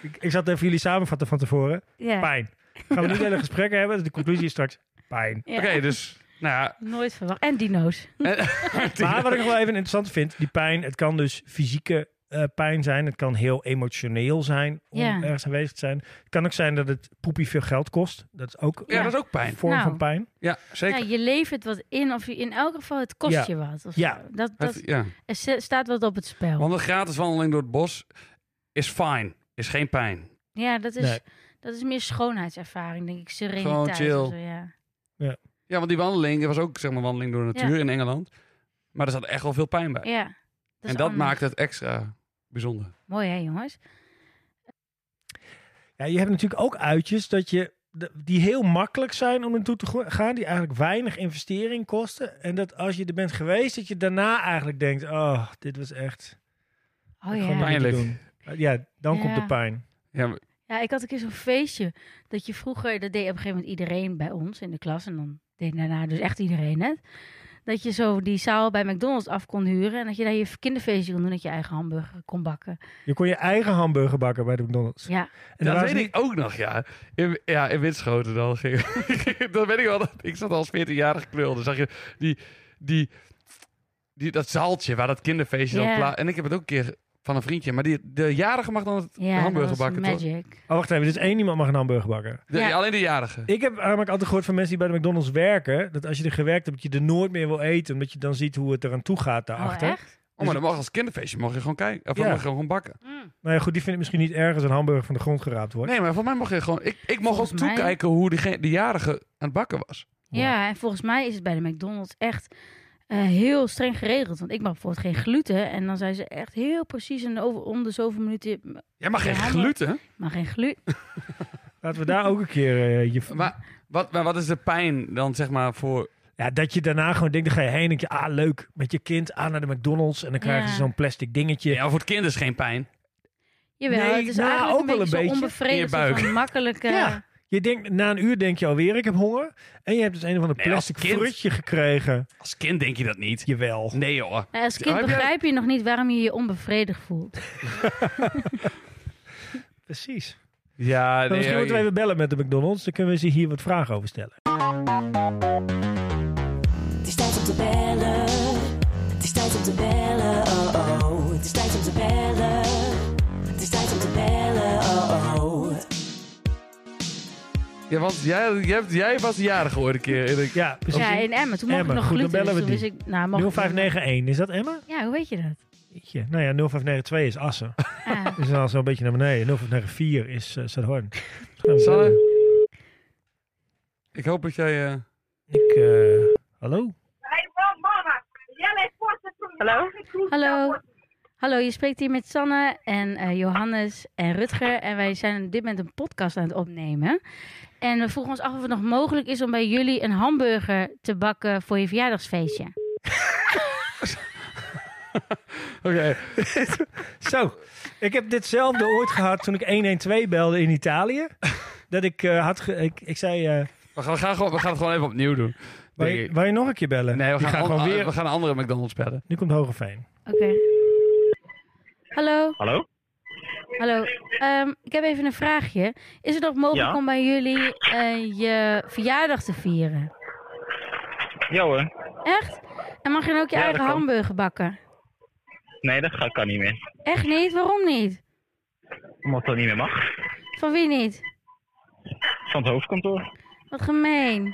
Speaker 2: Ik, ik zat even jullie samenvatten van tevoren.
Speaker 3: Ja.
Speaker 2: Pijn. Gaan we niet hele gesprekken hebben? dus De conclusie is straks pijn.
Speaker 3: Ja.
Speaker 1: Oké, dus... Nou ja,
Speaker 3: Nooit verwacht. En dino's.
Speaker 2: Maar wat ik nog wel even interessant vind, die pijn, het kan dus fysieke eh, pijn zijn. Het kan heel emotioneel zijn om
Speaker 3: Ja.
Speaker 2: ergens aanwezig te zijn. Het kan ook zijn dat het poepie veel geld kost. Dat is ook
Speaker 1: Ja,
Speaker 3: Ja.
Speaker 1: dat is ook
Speaker 2: een
Speaker 1: pijn.
Speaker 2: vorm
Speaker 3: Nou.
Speaker 2: van pijn.
Speaker 1: Ja, zeker.
Speaker 3: Ja, je levert wat in, of je, in elk geval, het kost
Speaker 2: Ja.
Speaker 3: je wat. Of
Speaker 2: Ja.
Speaker 3: zo. Dat, dat,
Speaker 1: Het- ja.
Speaker 3: Er sta- staat wat op het spel.
Speaker 1: Want een gratis wandeling door het bos is fijn. Is geen pijn.
Speaker 3: ja, dat is,
Speaker 2: Nee.
Speaker 3: dat is meer schoonheidservaring, denk ik. Sereniteit.
Speaker 1: Gewoon chill.
Speaker 3: of zo, ja.
Speaker 1: Ja, want die wandeling er was ook zeg maar wandeling door de natuur in Engeland. Maar er zat echt wel veel pijn bij.
Speaker 3: ja, dat is
Speaker 1: en dat
Speaker 3: anders.
Speaker 1: maakt het extra bijzonder.
Speaker 3: Mooi, hè, jongens?
Speaker 2: Ja, je hebt natuurlijk ook uitjes dat je, de- die heel makkelijk zijn om naartoe te go- gaan. Die eigenlijk weinig investering kosten. En dat als je er bent geweest, dat je daarna eigenlijk denkt... Oh, dit was echt...
Speaker 3: Oh
Speaker 2: gewoon
Speaker 3: ja.
Speaker 2: niet te
Speaker 1: Pijnlijk.
Speaker 2: doen. Uh, Ja, dan
Speaker 3: Ja.
Speaker 2: komt de pijn.
Speaker 1: Ja, maar-
Speaker 3: Ja, ik had een keer zo'n feestje. Dat je vroeger, dat deed op een gegeven moment iedereen bij ons in de klas. En dan deed daarna dus echt iedereen het. Dat je zo die zaal bij McDonald's af kon huren. En dat je daar je kinderfeestje kon doen. Dat je eigen hamburger kon bakken.
Speaker 2: Je kon je eigen hamburger bakken bij de McDonald's.
Speaker 3: Ja.
Speaker 2: En
Speaker 1: dat
Speaker 2: daar
Speaker 1: weet ik ook nog, ja. In, ja, in Winschoten dan ging... dat weet ik wel. dat- Ik zat als 14-jarig knul. Dan zag je die, die, die, dat zaaltje waar dat kinderfeestje
Speaker 3: Ja.
Speaker 1: dan plaats... En ik heb het ook een keer van een vriendje. Maar die, de jarige mag dan het
Speaker 3: ja dat
Speaker 1: hamburger
Speaker 3: was
Speaker 1: bakken, toch?
Speaker 3: magic.
Speaker 2: Oh, wacht even. Dus één iemand mag een hamburger bakken.
Speaker 1: De-
Speaker 3: Ja.
Speaker 1: Alleen de jarige.
Speaker 2: Ik heb namelijk altijd gehoord van mensen die bij de McDonald's werken... dat als je er gewerkt hebt, dat je er nooit meer wil eten... omdat je dan ziet hoe het eraan toe gaat
Speaker 3: Oh,
Speaker 2: daarachter.
Speaker 3: echt?
Speaker 1: Oh, maar dan mag als kinderfeestje mag je gewoon kijken. Of
Speaker 2: Ja.
Speaker 1: mag je gewoon bakken.
Speaker 3: Mm.
Speaker 2: nou ja, goed, die vindt het misschien niet erg als een hamburger van de grond geraapt wordt.
Speaker 1: Nee, maar voor mij mocht je gewoon... Ik, ik mocht ook
Speaker 3: Volgens mij-
Speaker 1: toekijken hoe die, die jarige aan het bakken was.
Speaker 3: Ja, en volgens mij is het bij de McDonald's echt eh, heel streng geregeld. Want ik mag bijvoorbeeld geen gluten. En dan zijn ze echt heel precies in de over, om de zoveel minuten...
Speaker 1: Jij mag geen
Speaker 3: Ja, maar-
Speaker 1: gluten.
Speaker 3: Maar geen gluten.
Speaker 2: Laten we daar ook een keer... eh, je...
Speaker 1: Maar wat, maar wat is de pijn dan, zeg maar, voor...
Speaker 2: Ja, dat je daarna gewoon denkt, dan ga je heen en denk je... ah, leuk, met je kind aan naar de McDonald's... en dan krijgen
Speaker 3: Ja.
Speaker 2: ze zo'n plastic dingetje.
Speaker 1: Ja, voor het kind is geen pijn.
Speaker 3: Jawel,
Speaker 2: Nee,
Speaker 3: het is
Speaker 2: nou,
Speaker 3: eigenlijk
Speaker 2: ook wel
Speaker 3: een beetje,
Speaker 2: een
Speaker 3: zo
Speaker 2: beetje.
Speaker 3: onbevredigend.
Speaker 1: In je buik.
Speaker 3: Van makkelijke...
Speaker 2: Ja. Je denkt, na een uur denk je alweer, ik heb honger. En je hebt dus een of ander
Speaker 1: Nee, als
Speaker 2: plastic
Speaker 1: kind.
Speaker 2: frutje gekregen.
Speaker 1: Als kind denk je dat niet.
Speaker 2: Jawel.
Speaker 1: Nee, joh.
Speaker 3: Nou, als kind
Speaker 1: Heb jij-
Speaker 3: begrijp je nog niet waarom je je onbevredigd voelt.
Speaker 2: Precies.
Speaker 1: Ja,
Speaker 2: Maar misschien moeten we even bellen met de McDonald's. Dan kunnen we ze hier wat vragen over stellen.
Speaker 4: Het is tijd om te bellen. Het is tijd om te bellen. Oh oh. Het is tijd om te bellen. Het is tijd om te bellen. Oh oh.
Speaker 1: Ja, want jij, jij, jij was eh, de jarige ooit een keer. Erik.
Speaker 2: Ja, precies.
Speaker 3: Ja, in Emmen. Toen mocht
Speaker 2: Emmen,
Speaker 3: ik nog
Speaker 2: goed, dan
Speaker 3: gluten.
Speaker 2: bellen we
Speaker 3: dus toen wist ik, nou, mag ik-
Speaker 2: 0591, is dat Emma?
Speaker 3: Ja, hoe weet je dat?
Speaker 2: Jeetje. Nou ja, 0592 is Assen.
Speaker 3: Ah,
Speaker 2: Dus dan is een beetje naar beneden. 0594 is eh, Zuidhoorn.
Speaker 1: Sanne? Ik hoop dat jij... eh,
Speaker 2: Ik, eh, hallo?
Speaker 5: Hallo?
Speaker 3: hallo. Hallo, je spreekt hier met Sanne en eh, Johannes en Rutger. En wij zijn op dit moment een podcast aan het opnemen. En we vroegen ons af of het nog mogelijk is om bij jullie een hamburger te bakken voor je verjaardagsfeestje.
Speaker 1: Oké.
Speaker 2: Zo, ik heb ditzelfde ooit gehad toen ik 112 belde in Italië. Dat ik eh, had, ge- ik, ik zei, eh,
Speaker 1: We, gaan, we, gaan gewoon, we gaan het gewoon even opnieuw doen.
Speaker 2: wil
Speaker 1: denk
Speaker 2: je,
Speaker 1: ik.
Speaker 2: wil je nog een keer bellen?
Speaker 1: Nee, we
Speaker 2: Die
Speaker 1: gaan,
Speaker 2: gaat
Speaker 1: an-
Speaker 2: gewoon weer.
Speaker 1: we gaan een andere McDonald's bellen.
Speaker 2: Nu komt Hogeveen.
Speaker 3: Oké. Hallo.
Speaker 6: Hallo?
Speaker 3: Hallo. Ehm, ik heb even een vraagje. Is het nog mogelijk
Speaker 6: Ja?
Speaker 3: om bij jullie eh, je verjaardag te vieren?
Speaker 6: Ja hoor.
Speaker 3: Echt? En mag je dan ook je
Speaker 6: Ja, dat
Speaker 3: eigen
Speaker 6: kan.
Speaker 3: hamburger bakken?
Speaker 6: Nee, dat ga- kan niet meer.
Speaker 3: Echt niet? Waarom niet?
Speaker 6: Omdat dat niet meer mag.
Speaker 3: Van wie niet?
Speaker 6: Van het hoofdkantoor.
Speaker 3: Wat gemeen.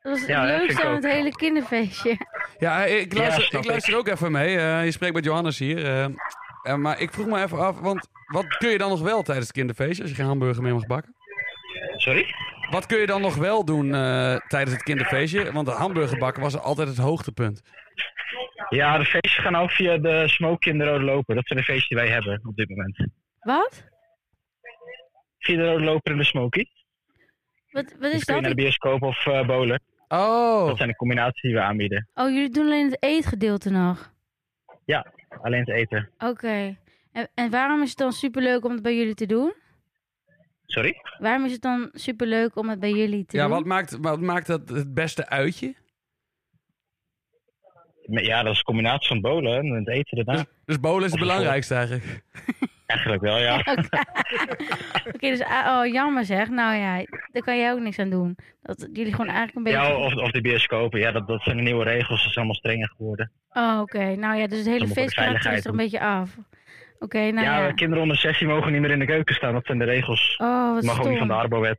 Speaker 3: Dat was het
Speaker 6: Ja, hè, vind
Speaker 3: leukste
Speaker 6: ik
Speaker 3: aan
Speaker 6: ook.
Speaker 3: het hele kinderfeestje.
Speaker 1: Ja, eh, ik luister,
Speaker 6: snap
Speaker 1: ik luister ook even mee. Eh, je spreekt met Johannes hier. eh. Eh, maar ik vroeg me even af, want wat kun je dan nog wel tijdens het kinderfeestje als je geen hamburger meer mag bakken?
Speaker 6: Sorry?
Speaker 1: Wat kun je dan nog wel doen eh, tijdens het kinderfeestje? Want de hamburger bakken was altijd het hoogtepunt.
Speaker 6: Ja, de feestjes gaan ook via de Smoky en de Rode Loper. Dat zijn de feestjes die wij hebben op dit moment.
Speaker 3: Wat?
Speaker 6: Via de Rode Loper en de Smoky.
Speaker 3: Wat, wat
Speaker 6: Dus
Speaker 3: is
Speaker 6: kun je
Speaker 3: Dus dat?
Speaker 6: naar de bioscoop of eh bowlen.
Speaker 1: Oh,
Speaker 6: Dat zijn de combinaties die we aanbieden.
Speaker 3: Oh, jullie doen alleen het eetgedeelte nog.
Speaker 6: Alleen het eten.
Speaker 3: Oké. En, en waarom is het dan superleuk om het bij jullie te doen?
Speaker 6: Sorry?
Speaker 3: Waarom is het dan superleuk om het bij jullie te
Speaker 1: ja,
Speaker 3: doen?
Speaker 1: wat maakt, wat maakt dat het beste uitje?
Speaker 6: Maar Ja, dat is een combinatie van bowlen en het eten daarna.
Speaker 1: Dus, dus bowlen is
Speaker 2: Oh,
Speaker 1: het belangrijkste eigenlijk.
Speaker 6: Eigenlijk wel, ja.
Speaker 3: Oké, dus ah, oh, jammer zeg. Nou ja, daar kan jij ook niks aan doen. Dat jullie gewoon eigenlijk een beetje...
Speaker 6: Ja, oh. of, of de bioscopen. Ja, dat, dat zijn de nieuwe regels. Dat is allemaal strenger geworden.
Speaker 3: Oh, oké. Nou ja, dus het hele
Speaker 6: Allemaal voor de
Speaker 3: feestkarakter is
Speaker 6: veiligheid,
Speaker 3: er een beetje af. Oké, nou
Speaker 6: ja,
Speaker 3: ja.
Speaker 6: kinderen onder 16 mogen niet meer in de keuken staan. Dat zijn de regels.
Speaker 3: Oh, wat
Speaker 6: mag ook niet van
Speaker 3: stom.
Speaker 6: de Arbo-wet.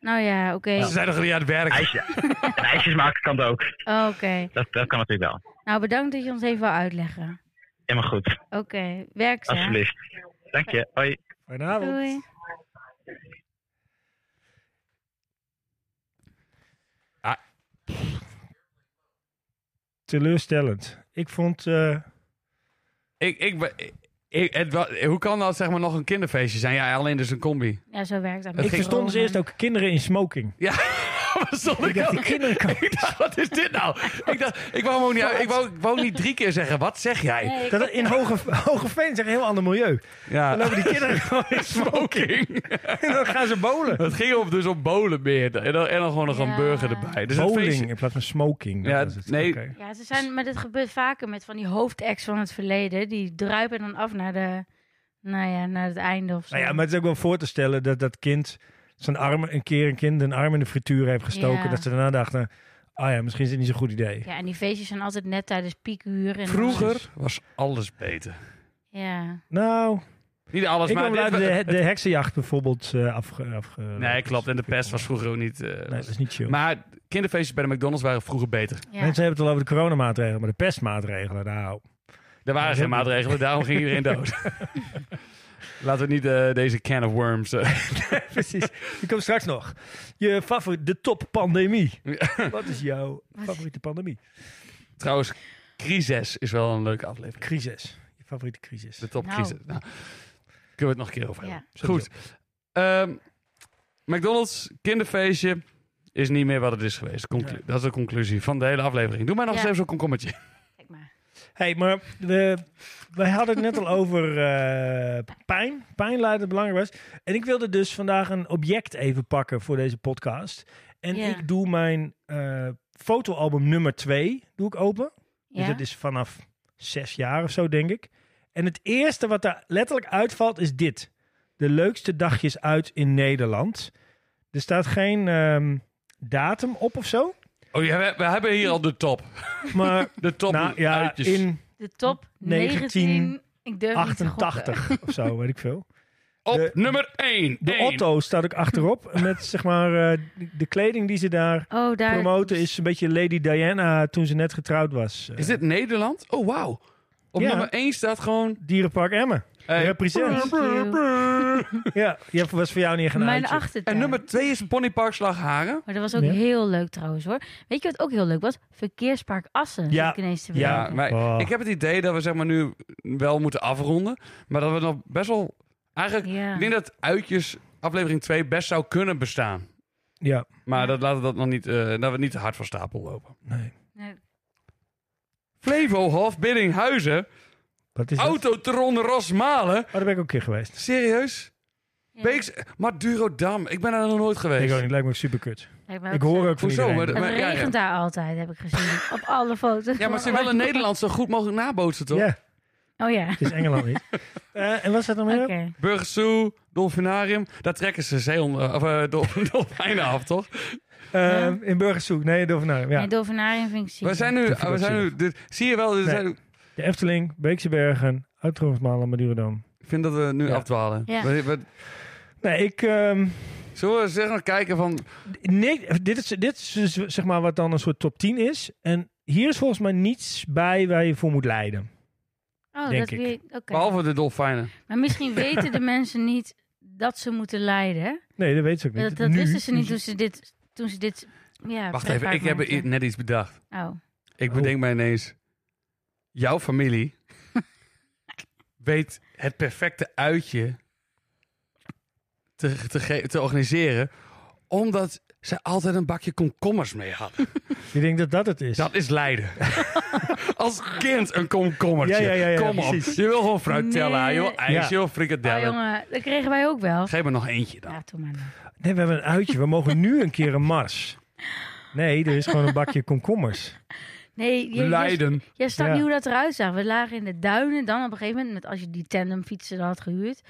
Speaker 3: Nou ja, oké.
Speaker 1: Ze zijn nog niet aan het werk.
Speaker 6: IJsje- en ijsjes maken kan het ook.
Speaker 3: Oh, Oké.
Speaker 6: Dat, dat kan natuurlijk wel.
Speaker 3: Nou, bedankt dat je ons even wil uitleggen.
Speaker 6: Helemaal goed.
Speaker 3: Oké, werk ze. hè?
Speaker 6: Alsjeblieft. Dank je. Hoi.
Speaker 2: Goedenavond.
Speaker 3: Doei.
Speaker 2: Teleurstellend. Ik vond, eh,
Speaker 1: Ik, ik, ben- ik, het wa- hoe kan dat zeg maar nog een kinderfeestje zijn? Ja, alleen dus een combi.
Speaker 3: Ja, zo werkt dat.
Speaker 1: Het
Speaker 3: met
Speaker 2: ik
Speaker 1: ging-
Speaker 2: verstond dus
Speaker 3: corona.
Speaker 2: eerst ook kinderen in smoking.
Speaker 1: Ja. Waar stond
Speaker 2: Ik dacht, die
Speaker 1: ook?
Speaker 2: kinderen komen.
Speaker 1: Ik dacht, wat is dit nou? Ik, dacht, ik, wou hem ook niet, uit- ik, wou, ik wou niet drie keer zeggen, wat zeg jij?
Speaker 3: Nee,
Speaker 2: Dat in Hoge, Hogeveen is echt een heel ander milieu. Dan
Speaker 1: Ja,
Speaker 2: lopen die kinderen gewoon in smoking.
Speaker 1: smoking.
Speaker 2: En dan gaan ze bowlen.
Speaker 1: Het ging om, dus om bolen meer. En dan, en dan gewoon nog een
Speaker 3: Ja.
Speaker 1: burger erbij. Dus een
Speaker 2: Bowling
Speaker 1: feestje-
Speaker 2: in plaats van smoking.
Speaker 1: Ja,
Speaker 2: dat was het.
Speaker 1: nee.
Speaker 2: Oké.
Speaker 3: Ja, ze zijn, maar dit gebeurt vaker met van die hoofdacts van het verleden. Die druipen dan af naar, de, nou ja, naar het einde of zo.
Speaker 2: Nou ja, maar het is ook wel voor te stellen dat dat kind zijn arm een keer een kind een arm in de frituur heeft gestoken.
Speaker 3: Ja.
Speaker 2: Dat ze daarna dachten, ah ja, misschien is het niet zo'n goed idee.
Speaker 3: Ja, en die feestjes zijn altijd net tijdens piekuur. En
Speaker 1: Vroeger was alles beter.
Speaker 3: Ja.
Speaker 2: Nou,
Speaker 1: Niet alles,
Speaker 2: ik
Speaker 1: maar...
Speaker 2: kwam
Speaker 1: dit-
Speaker 2: later de, de heksenjacht bijvoorbeeld eh afge, afge...
Speaker 1: Nee, klopt. En de pest was vroeger ook niet... eh,
Speaker 2: Nee, dat is niet chill.
Speaker 1: Maar kinderfeestjes bij de McDonald's waren vroeger beter.
Speaker 3: ja.
Speaker 2: Mensen hebben het al over de coronamaatregelen, maar de pestmaatregelen, nou...
Speaker 1: Er waren geen maatregelen, daarom ging iedereen dood. Laten we niet eh, deze can of worms... eh,
Speaker 2: Precies, die komt straks nog. Je favoriet, de top pandemie. Wat is jouw favoriete pandemie?
Speaker 1: Trouwens, crisis is wel een leuke aflevering.
Speaker 2: Crisis. Je favoriete crisis.
Speaker 1: De topcrisis. Nou,
Speaker 3: Nou.
Speaker 1: kunnen we het nog een keer over hebben.
Speaker 3: Ja.
Speaker 1: Goed. Ehm, McDonald's kinderfeestje is niet meer wat het is geweest. Conclu-
Speaker 2: Nee.
Speaker 1: Dat is de conclusie van de hele aflevering. Doe maar nog
Speaker 3: Ja.
Speaker 1: eens even zo'n komkommetje.
Speaker 3: Kijk maar.
Speaker 2: hey, maar we, wij hadden het net al over eh, pijn. Pijnlijden belangrijk was. En ik wilde dus vandaag een object even pakken voor deze podcast. En
Speaker 3: Ja.
Speaker 2: ik doe mijn eh, fotoalbum nummer 2 doe ik open.
Speaker 3: Ja?
Speaker 2: Dus dat is vanaf zes jaar of zo, denk ik. En het eerste wat daar letterlijk uitvalt is dit. De leukste dagjes uit in Nederland. Er staat geen ehm, datum op of zo.
Speaker 1: Oh ja, we, we hebben hier al de top.
Speaker 2: Maar
Speaker 1: De top
Speaker 2: nou, ja,
Speaker 1: uitjes.
Speaker 2: in
Speaker 3: De top 19... Ik durf niet te gokken.
Speaker 2: 88 of zo, weet ik veel.
Speaker 1: Op
Speaker 2: de-
Speaker 1: nummer 1.
Speaker 2: De Otto staat ook achterop. Met zeg maar eh, de kleding die ze daar
Speaker 3: Oh, daar...
Speaker 2: promoten is een beetje Lady Diana toen ze net getrouwd was. Eh,
Speaker 1: Is dit Nederland? Oh, wauw. Op
Speaker 2: Ja.
Speaker 1: nummer 1 staat gewoon...
Speaker 2: Dierenpark Emmen.
Speaker 1: eh,
Speaker 2: Represent.
Speaker 3: Thank you.
Speaker 2: Ja, die heb- was voor jou niet gaan
Speaker 3: Mijn
Speaker 2: uitje.
Speaker 3: achtertuin.
Speaker 1: en nummer 2 is Ponypark Slagharen.
Speaker 3: Maar dat was ook
Speaker 2: Ja.
Speaker 3: heel leuk trouwens hoor. Weet je wat ook heel leuk was? Verkeerspark Assen.
Speaker 2: Ja.
Speaker 3: zit ik ineens te
Speaker 2: Ja.
Speaker 1: Ja,
Speaker 3: bedenken.
Speaker 1: maar
Speaker 2: Oh.
Speaker 1: ik heb het idee dat we zeg maar nu wel moeten afronden. Maar dat we nog best wel... Eigenlijk,
Speaker 3: Ja.
Speaker 1: ik denk dat uitjes aflevering 2 best zou kunnen bestaan.
Speaker 2: Ja,
Speaker 1: Maar
Speaker 3: Ja.
Speaker 1: dat laten we dat nog niet, eh, dat we niet te hard van stapel lopen.
Speaker 2: nee.
Speaker 3: Nee.
Speaker 1: Flevohof, Biddinghuizen,
Speaker 2: Wat is
Speaker 1: Oh.
Speaker 2: dat?
Speaker 1: Autotron, Rosmalen.
Speaker 2: Oh, daar ben ik ook een keer geweest.
Speaker 1: Serieus?
Speaker 3: Ja.
Speaker 1: Beeks, Madurodam. Ik ben daar nog nooit
Speaker 2: Ik
Speaker 1: geweest.
Speaker 2: ook niet, lijkt me ook super kut.
Speaker 3: Lijkt mij
Speaker 2: Ik
Speaker 3: ook zo.
Speaker 2: hoor ook van
Speaker 1: Hoezo?
Speaker 2: iedereen.
Speaker 1: Maar-
Speaker 3: Het
Speaker 1: maar- ja,
Speaker 3: regent
Speaker 1: ja.
Speaker 3: daar altijd, heb ik gezien. Op alle foto's.
Speaker 1: Ja, maar ze willen Nederland zo goed mogelijk nabootsen, toch?
Speaker 2: Ja,
Speaker 3: Oh ja,
Speaker 2: het is Engeland niet. Eh, en wat staat er nog
Speaker 3: oké.
Speaker 2: meer?
Speaker 1: Burgers Zoo, Dolfinarium. Daar trekken ze zeehonden, of eh, dol- dolfijnen af, toch?
Speaker 2: Eh, in Burgersoek. Nee, Dovenaar. Ja.
Speaker 3: Nee, Dolfinarium vind ik ziek.
Speaker 1: We zijn nu...
Speaker 2: vind ik
Speaker 1: We zijn nu dit, zie je wel, dit
Speaker 2: Nee.
Speaker 1: zijn-
Speaker 2: De Efteling, Beekse Bergen, Uitroomsmalen, Madurodam.
Speaker 1: ik vind dat we nu
Speaker 2: Ja.
Speaker 1: afdwalen.
Speaker 3: Ja.
Speaker 1: We- we-
Speaker 2: Nee, ik... ehm,
Speaker 1: zullen we zeg maar kijken van...
Speaker 2: nee, dit is, dit is dus, zeg maar wat dan een soort top 10 is. En hier is volgens mij niets bij waar je voor moet leiden.
Speaker 3: Oh,
Speaker 2: denk
Speaker 3: dat
Speaker 2: ik.
Speaker 3: weet- oké.
Speaker 1: Behalve de dolfijnen.
Speaker 3: Maar misschien weten de mensen niet dat ze moeten lijden. hè?
Speaker 2: Nee, dat weet ze ook niet.
Speaker 3: Dat, dat
Speaker 2: Nu-
Speaker 3: wisten ze niet dus- toen ze dit... Toen ze dit ja,
Speaker 1: Wacht even,
Speaker 3: pretpark
Speaker 1: ik heb i-
Speaker 3: maakten.
Speaker 1: net iets bedacht.
Speaker 3: Oh,
Speaker 1: Ik
Speaker 2: Oh.
Speaker 1: bedenk mij ineens... Jouw familie weet het perfecte uitje te, te, ge- te organiseren... omdat ze altijd een bakje komkommers mee hadden.
Speaker 2: Je denkt dat dat het is.
Speaker 1: Dat is lijden. Als kind een komkommertje.
Speaker 2: Ja, ja, ja, ja,
Speaker 1: Kom op.
Speaker 2: precies.
Speaker 1: Je wil gewoon fruitella,
Speaker 3: Nee.
Speaker 1: je wil ijs,
Speaker 2: Ja.
Speaker 1: je wil
Speaker 3: oh
Speaker 1: frikadellen.
Speaker 3: jongen, dat kregen wij ook wel.
Speaker 1: Geef me nog eentje dan.
Speaker 3: Ja, toen maar. niet.
Speaker 2: Nee, we hebben een uitje. We mogen nu een keer een mars. Nee, er is gewoon een bakje komkommers.
Speaker 3: Nee, je, je,
Speaker 1: Leiden.
Speaker 3: je snapt
Speaker 2: Ja.
Speaker 3: niet hoe dat eruit zag. We lagen in de duinen dan op een gegeven moment... Met, als je die tandemfietsen had gehuurd.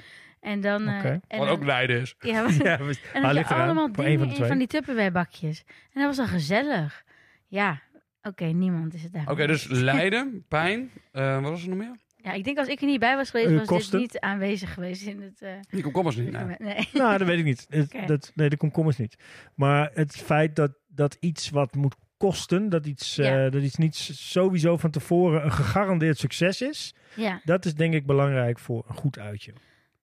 Speaker 3: En dan... eh,
Speaker 2: Oké.
Speaker 3: en
Speaker 1: Wat
Speaker 3: dan-
Speaker 1: ook Leiden is.
Speaker 3: ja, maar-
Speaker 2: Ja, we-
Speaker 3: En
Speaker 2: maar
Speaker 3: dan had
Speaker 2: ligt
Speaker 3: je
Speaker 2: eraan,
Speaker 3: allemaal
Speaker 2: voor
Speaker 3: dingen
Speaker 2: één
Speaker 3: in
Speaker 2: van de twee.
Speaker 3: van die Tupperware bakjes. En dat was dan gezellig. Ja, oké, niemand is het daar.
Speaker 1: Oké, dus Leiden, pijn. Eh, wat was er nog meer?
Speaker 3: Ja, ik denk als ik er niet bij was
Speaker 2: Eh,
Speaker 3: geweest, was
Speaker 2: kosten?
Speaker 3: dit niet aanwezig geweest in het... eh,
Speaker 1: Die komkommers niet. nee.
Speaker 3: document. nee.
Speaker 2: Nou, dat weet ik niet. Het-
Speaker 3: Oké.
Speaker 2: dat, nee, de komkommers niet. Maar het feit dat, dat iets wat moet kosten, dat iets, eh,
Speaker 3: Ja.
Speaker 2: dat iets niet s- sowieso van tevoren een gegarandeerd succes is,
Speaker 3: Ja,
Speaker 2: dat is denk ik belangrijk voor een goed uitje.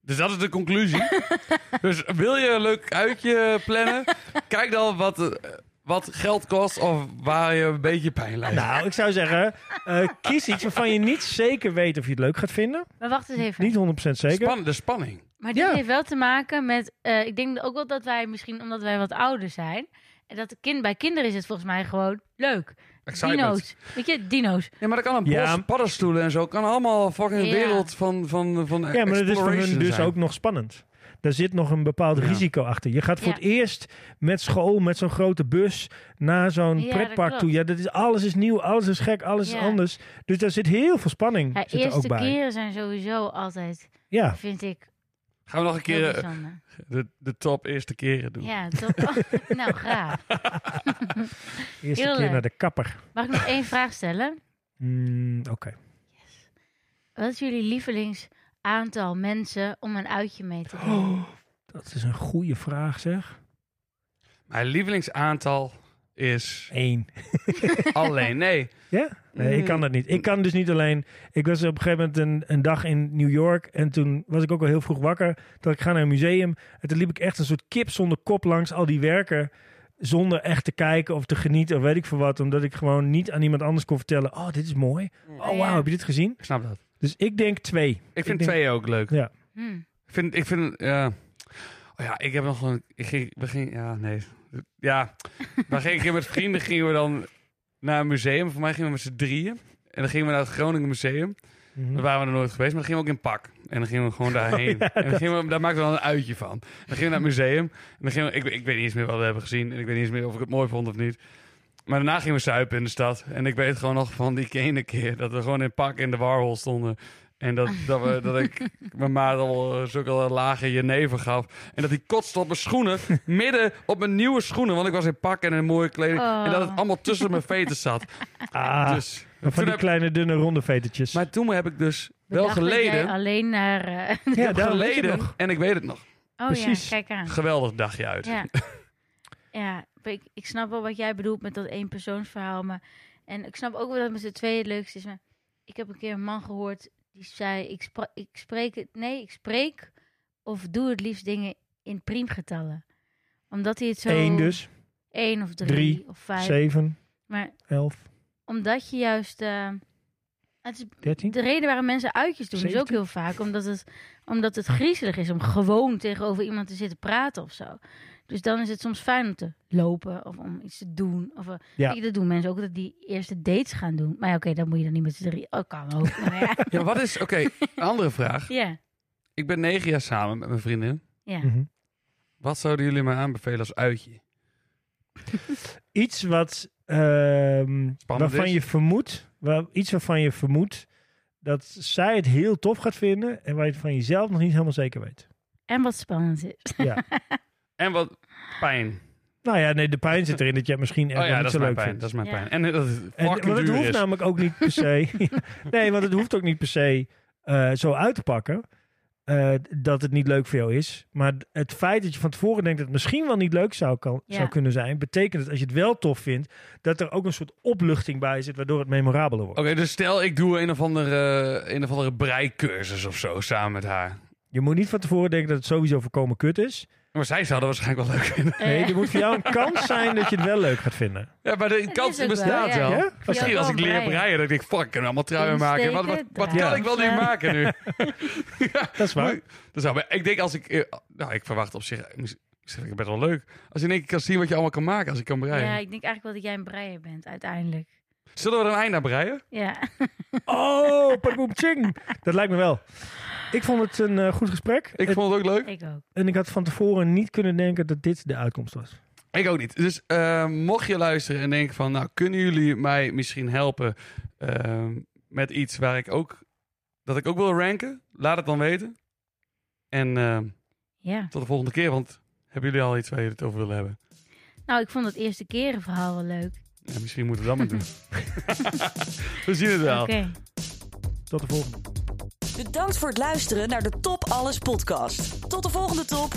Speaker 1: Dus dat is de conclusie. dus wil je een leuk uitje plannen? Kijk dan wat, eh, wat geld kost of waar je een beetje pijn lijdt.
Speaker 2: Nou, ik zou zeggen, eh, kies iets waarvan je niet zeker weet of je het leuk gaat vinden.
Speaker 3: maar wacht eens even.
Speaker 2: Niet 100% zeker.
Speaker 1: Span- de spanning.
Speaker 3: Maar dit
Speaker 2: Ja.
Speaker 3: heeft wel te maken met... eh, ik denk ook wel dat wij misschien, omdat wij wat ouder zijn... En dat kind, bij kinderen is het volgens mij gewoon leuk.
Speaker 7: Excitement.
Speaker 3: Dino's. Weet je, dino's.
Speaker 1: Ja, maar dat kan een
Speaker 2: Ja.
Speaker 1: bos, paddenstoelen en zo. Kan allemaal fucking
Speaker 3: Ja.
Speaker 1: wereld van, van, van
Speaker 2: Ja, maar dat is voor hun
Speaker 1: exploration
Speaker 2: dus
Speaker 1: zijn.
Speaker 2: ook nog spannend. Daar zit nog een bepaald
Speaker 1: Ja.
Speaker 2: risico achter. Je gaat voor
Speaker 3: Ja.
Speaker 2: het eerst met school, met zo'n grote bus, naar zo'n
Speaker 3: Ja, dat
Speaker 2: pretpark toe.
Speaker 3: klopt.
Speaker 2: Ja, dat is, alles is nieuw, alles is gek, alles
Speaker 3: Ja.
Speaker 2: is anders. Dus daar zit heel veel spanning
Speaker 3: Ja,
Speaker 2: Hm, zit er ook
Speaker 3: eerste
Speaker 2: bij.
Speaker 3: keren zijn sowieso altijd,
Speaker 2: Ja.
Speaker 3: vind ik,
Speaker 1: Gaan we nog een
Speaker 3: heel
Speaker 1: keer eh,
Speaker 3: bijzonder.
Speaker 1: de, de top eerste keren doen.
Speaker 3: Ja, top. nou, graag.
Speaker 2: Eerste
Speaker 3: Heel
Speaker 2: keer
Speaker 3: leuk.
Speaker 2: naar de kapper.
Speaker 3: Mag ik nog één vraag stellen?
Speaker 2: Mm, Oké.
Speaker 3: Wat is jullie lievelings aantal mensen om een uitje mee te doen?
Speaker 2: Oh, dat is een goede vraag, zeg.
Speaker 1: Mijn lievelingsaantal is
Speaker 2: Eén.
Speaker 1: alleen nee.
Speaker 2: Ja? Nee, ik
Speaker 1: Mhm.
Speaker 2: kan dat niet. Ik kan dus niet alleen. Ik was op een gegeven moment een, een dag in New York. En toen was ik ook al heel vroeg wakker. Dat ik ga naar een museum. En toen liep ik echt een soort kip zonder kop langs al die werken. Zonder echt te kijken of te genieten of weet ik veel wat. Omdat ik gewoon niet aan iemand anders kon vertellen. Oh, dit is mooi.
Speaker 1: Mm.
Speaker 2: Oh, wauw, heb je dit gezien?
Speaker 1: Ik snap dat.
Speaker 2: Dus ik denk twee.
Speaker 1: Ik vind
Speaker 2: denk-
Speaker 1: twee ook leuk.
Speaker 2: Ja.
Speaker 3: Hm.
Speaker 1: Ik vind, ik vind, ja. Oh ja, ik heb nog een, ik ging, we gingen, ja, nee. Ja, maar ging ik met vrienden gingen we dan naar een museum. Voor mij gingen we met z'n drieën. En dan gingen we naar het Groningen Museum.
Speaker 2: Mhm.
Speaker 1: Daar waren we nog nooit geweest, maar dan gingen we ook in pak. En dan gingen we
Speaker 3: Oh,
Speaker 1: gewoon daarheen. en dan gingen we, daar maakten we dan een uitje van. Dan gingen we naar het museum. En dan gingen we, ik, ik weet niet eens meer wat we hebben gezien. En ik weet niet eens meer of ik het mooi vond of niet. Maar daarna gingen we suipen in de stad. En ik weet gewoon nog van die ene keer dat we gewoon in pak in de warhol stonden. En dat, dat, we, dat ik mijn maat al eh, zulke lage jenever gaf. En dat hij kotste op mijn schoenen. Midden op mijn nieuwe schoenen. Want ik was in pak en in mooie kleding.
Speaker 3: Oh.
Speaker 1: En dat het allemaal tussen mijn veters zat.
Speaker 2: Ah,
Speaker 1: Dus,
Speaker 2: van
Speaker 1: toen
Speaker 2: die
Speaker 1: heb-
Speaker 2: kleine dunne ronde vetertjes.
Speaker 1: maar toen heb ik dus wel
Speaker 3: Bedacht dat jij
Speaker 1: geleden
Speaker 3: Alleen naar. eh,
Speaker 2: ja, daarom weet je het
Speaker 1: geleden
Speaker 2: nog.
Speaker 1: en ik weet het nog.
Speaker 3: oh
Speaker 2: Precies.
Speaker 3: ja, kijk aan.
Speaker 1: Geweldig dagje uit.
Speaker 3: Ja. ja, maar ik, ik snap wel wat jij bedoelt met dat éénpersoonsverhaal. Maar, en ik snap ook wel dat het met z'n tweeën het leukste is. Maar ik heb een keer een man gehoord die zei: ik, spra- ik spreek het. Nee, ik spreek of doe het liefst dingen in priemgetallen. Omdat hij het zo.
Speaker 2: Eén dus,
Speaker 3: één of drie,
Speaker 2: Drie,
Speaker 3: of vijf.
Speaker 2: zeven,
Speaker 3: Maar
Speaker 2: elf,
Speaker 3: omdat je juist. eh, het is
Speaker 2: dertien.
Speaker 3: de reden waarom mensen uitjes doen is ook
Speaker 2: 17?
Speaker 3: heel vaak omdat het, omdat het griezelig is om gewoon tegenover iemand te zitten praten of zo. Dus dan is het soms fijn om te lopen of om iets te doen. Of, eh,
Speaker 2: Ja.
Speaker 3: weet je, dat doen mensen ook, dat die eerste dates gaan doen. Maar ja, oké, dan moet je dan niet met z'n drie. Oh, kan ook. Maar ja.
Speaker 1: Ja, wat is... Oké, een andere vraag.
Speaker 3: ja,
Speaker 1: Ik ben negen jaar samen met mijn vriendin.
Speaker 3: ja.
Speaker 2: Mhm.
Speaker 1: Wat zouden jullie mij aanbevelen als uitje?
Speaker 2: iets wat ehm, waarvan
Speaker 1: is.
Speaker 2: je vermoedt, waar, iets waarvan je vermoedt dat zij het heel tof gaat vinden en waar je het van jezelf nog niet helemaal zeker weet.
Speaker 3: En wat spannend is.
Speaker 2: Ja.
Speaker 1: En wat pijn.
Speaker 2: nou ja, nee, de pijn zit erin dat je het misschien echt
Speaker 1: Oh
Speaker 2: wel
Speaker 1: ja, dat
Speaker 2: niet zo
Speaker 1: is mijn
Speaker 2: leuk
Speaker 1: pijn.
Speaker 2: vindt.
Speaker 1: Dat is mijn
Speaker 3: Ja.
Speaker 1: pijn. En eh, dat het
Speaker 2: En,
Speaker 1: fucking
Speaker 2: want het
Speaker 1: duur
Speaker 2: hoeft
Speaker 1: is.
Speaker 2: namelijk ook niet per se. nee, want het hoeft ook niet per se eh, zo uit te pakken. eh, dat het niet leuk voor jou is. Maar d- het feit dat je van tevoren denkt dat het misschien wel niet leuk zou, kan,
Speaker 3: Ja.
Speaker 2: zou kunnen zijn, betekent dat als je het wel tof vindt, dat er ook een soort opluchting bij zit, waardoor het memorabeler wordt.
Speaker 1: Oké, dus stel ik doe een of andere, eh, een of andere breikursus of zo samen met haar.
Speaker 2: Je moet niet van tevoren denken dat het sowieso voorkomen kut is.
Speaker 1: Maar zij zou dat waarschijnlijk wel leuk vinden.
Speaker 2: Nee,
Speaker 3: Eh,
Speaker 2: er moet voor jou een kans zijn dat je het wel leuk gaat vinden.
Speaker 1: Ja, maar de
Speaker 3: is
Speaker 1: kans
Speaker 3: ook wel,
Speaker 1: bestaat
Speaker 3: ja.
Speaker 1: wel.
Speaker 2: Ja?
Speaker 1: Misschien
Speaker 3: Ja,
Speaker 1: als ik
Speaker 3: wel
Speaker 1: leer
Speaker 3: breien.
Speaker 1: breien, dan denk ik, fuck, ik kan allemaal truien maken. Wat, wat, wat
Speaker 3: Insteken,
Speaker 1: kan ik wel niet
Speaker 3: draadjes.
Speaker 1: maken nu?
Speaker 2: Dat is waar.
Speaker 1: Dat zou, maar ik denk als ik... eh, Nou, ik verwacht op zich... Ik zeg, ik ben wel leuk. Als je in één keer kan zien wat je allemaal kan maken als ik kan breien.
Speaker 3: Ja, ik denk eigenlijk wel dat jij een breier bent uiteindelijk.
Speaker 1: Zullen we er een eind aan breien?
Speaker 3: Ja,
Speaker 2: Oh, padoem ching. Dat lijkt me wel. Ik vond het een eh, goed gesprek.
Speaker 1: Ik
Speaker 2: Het-
Speaker 1: vond het ook leuk.
Speaker 3: ik ook.
Speaker 2: En ik had van tevoren niet kunnen denken dat dit de uitkomst was.
Speaker 1: Ik ook niet. Dus eh, mocht je luisteren en denken van... Nou, kunnen jullie mij misschien helpen eh, met iets waar ik ook... Dat ik ook wil ranken? Laat het dan weten. En eh,
Speaker 3: Ja.
Speaker 1: tot de volgende keer, want... Hebben jullie al iets waar jullie het over willen hebben?
Speaker 3: Nou, ik vond het eerste keren verhaal wel leuk.
Speaker 1: Ja, misschien moeten we dat maar doen. we zien het wel.
Speaker 3: Oké.
Speaker 2: Tot de volgende.
Speaker 4: Bedankt voor het luisteren naar de Top Alles podcast. Tot de volgende top.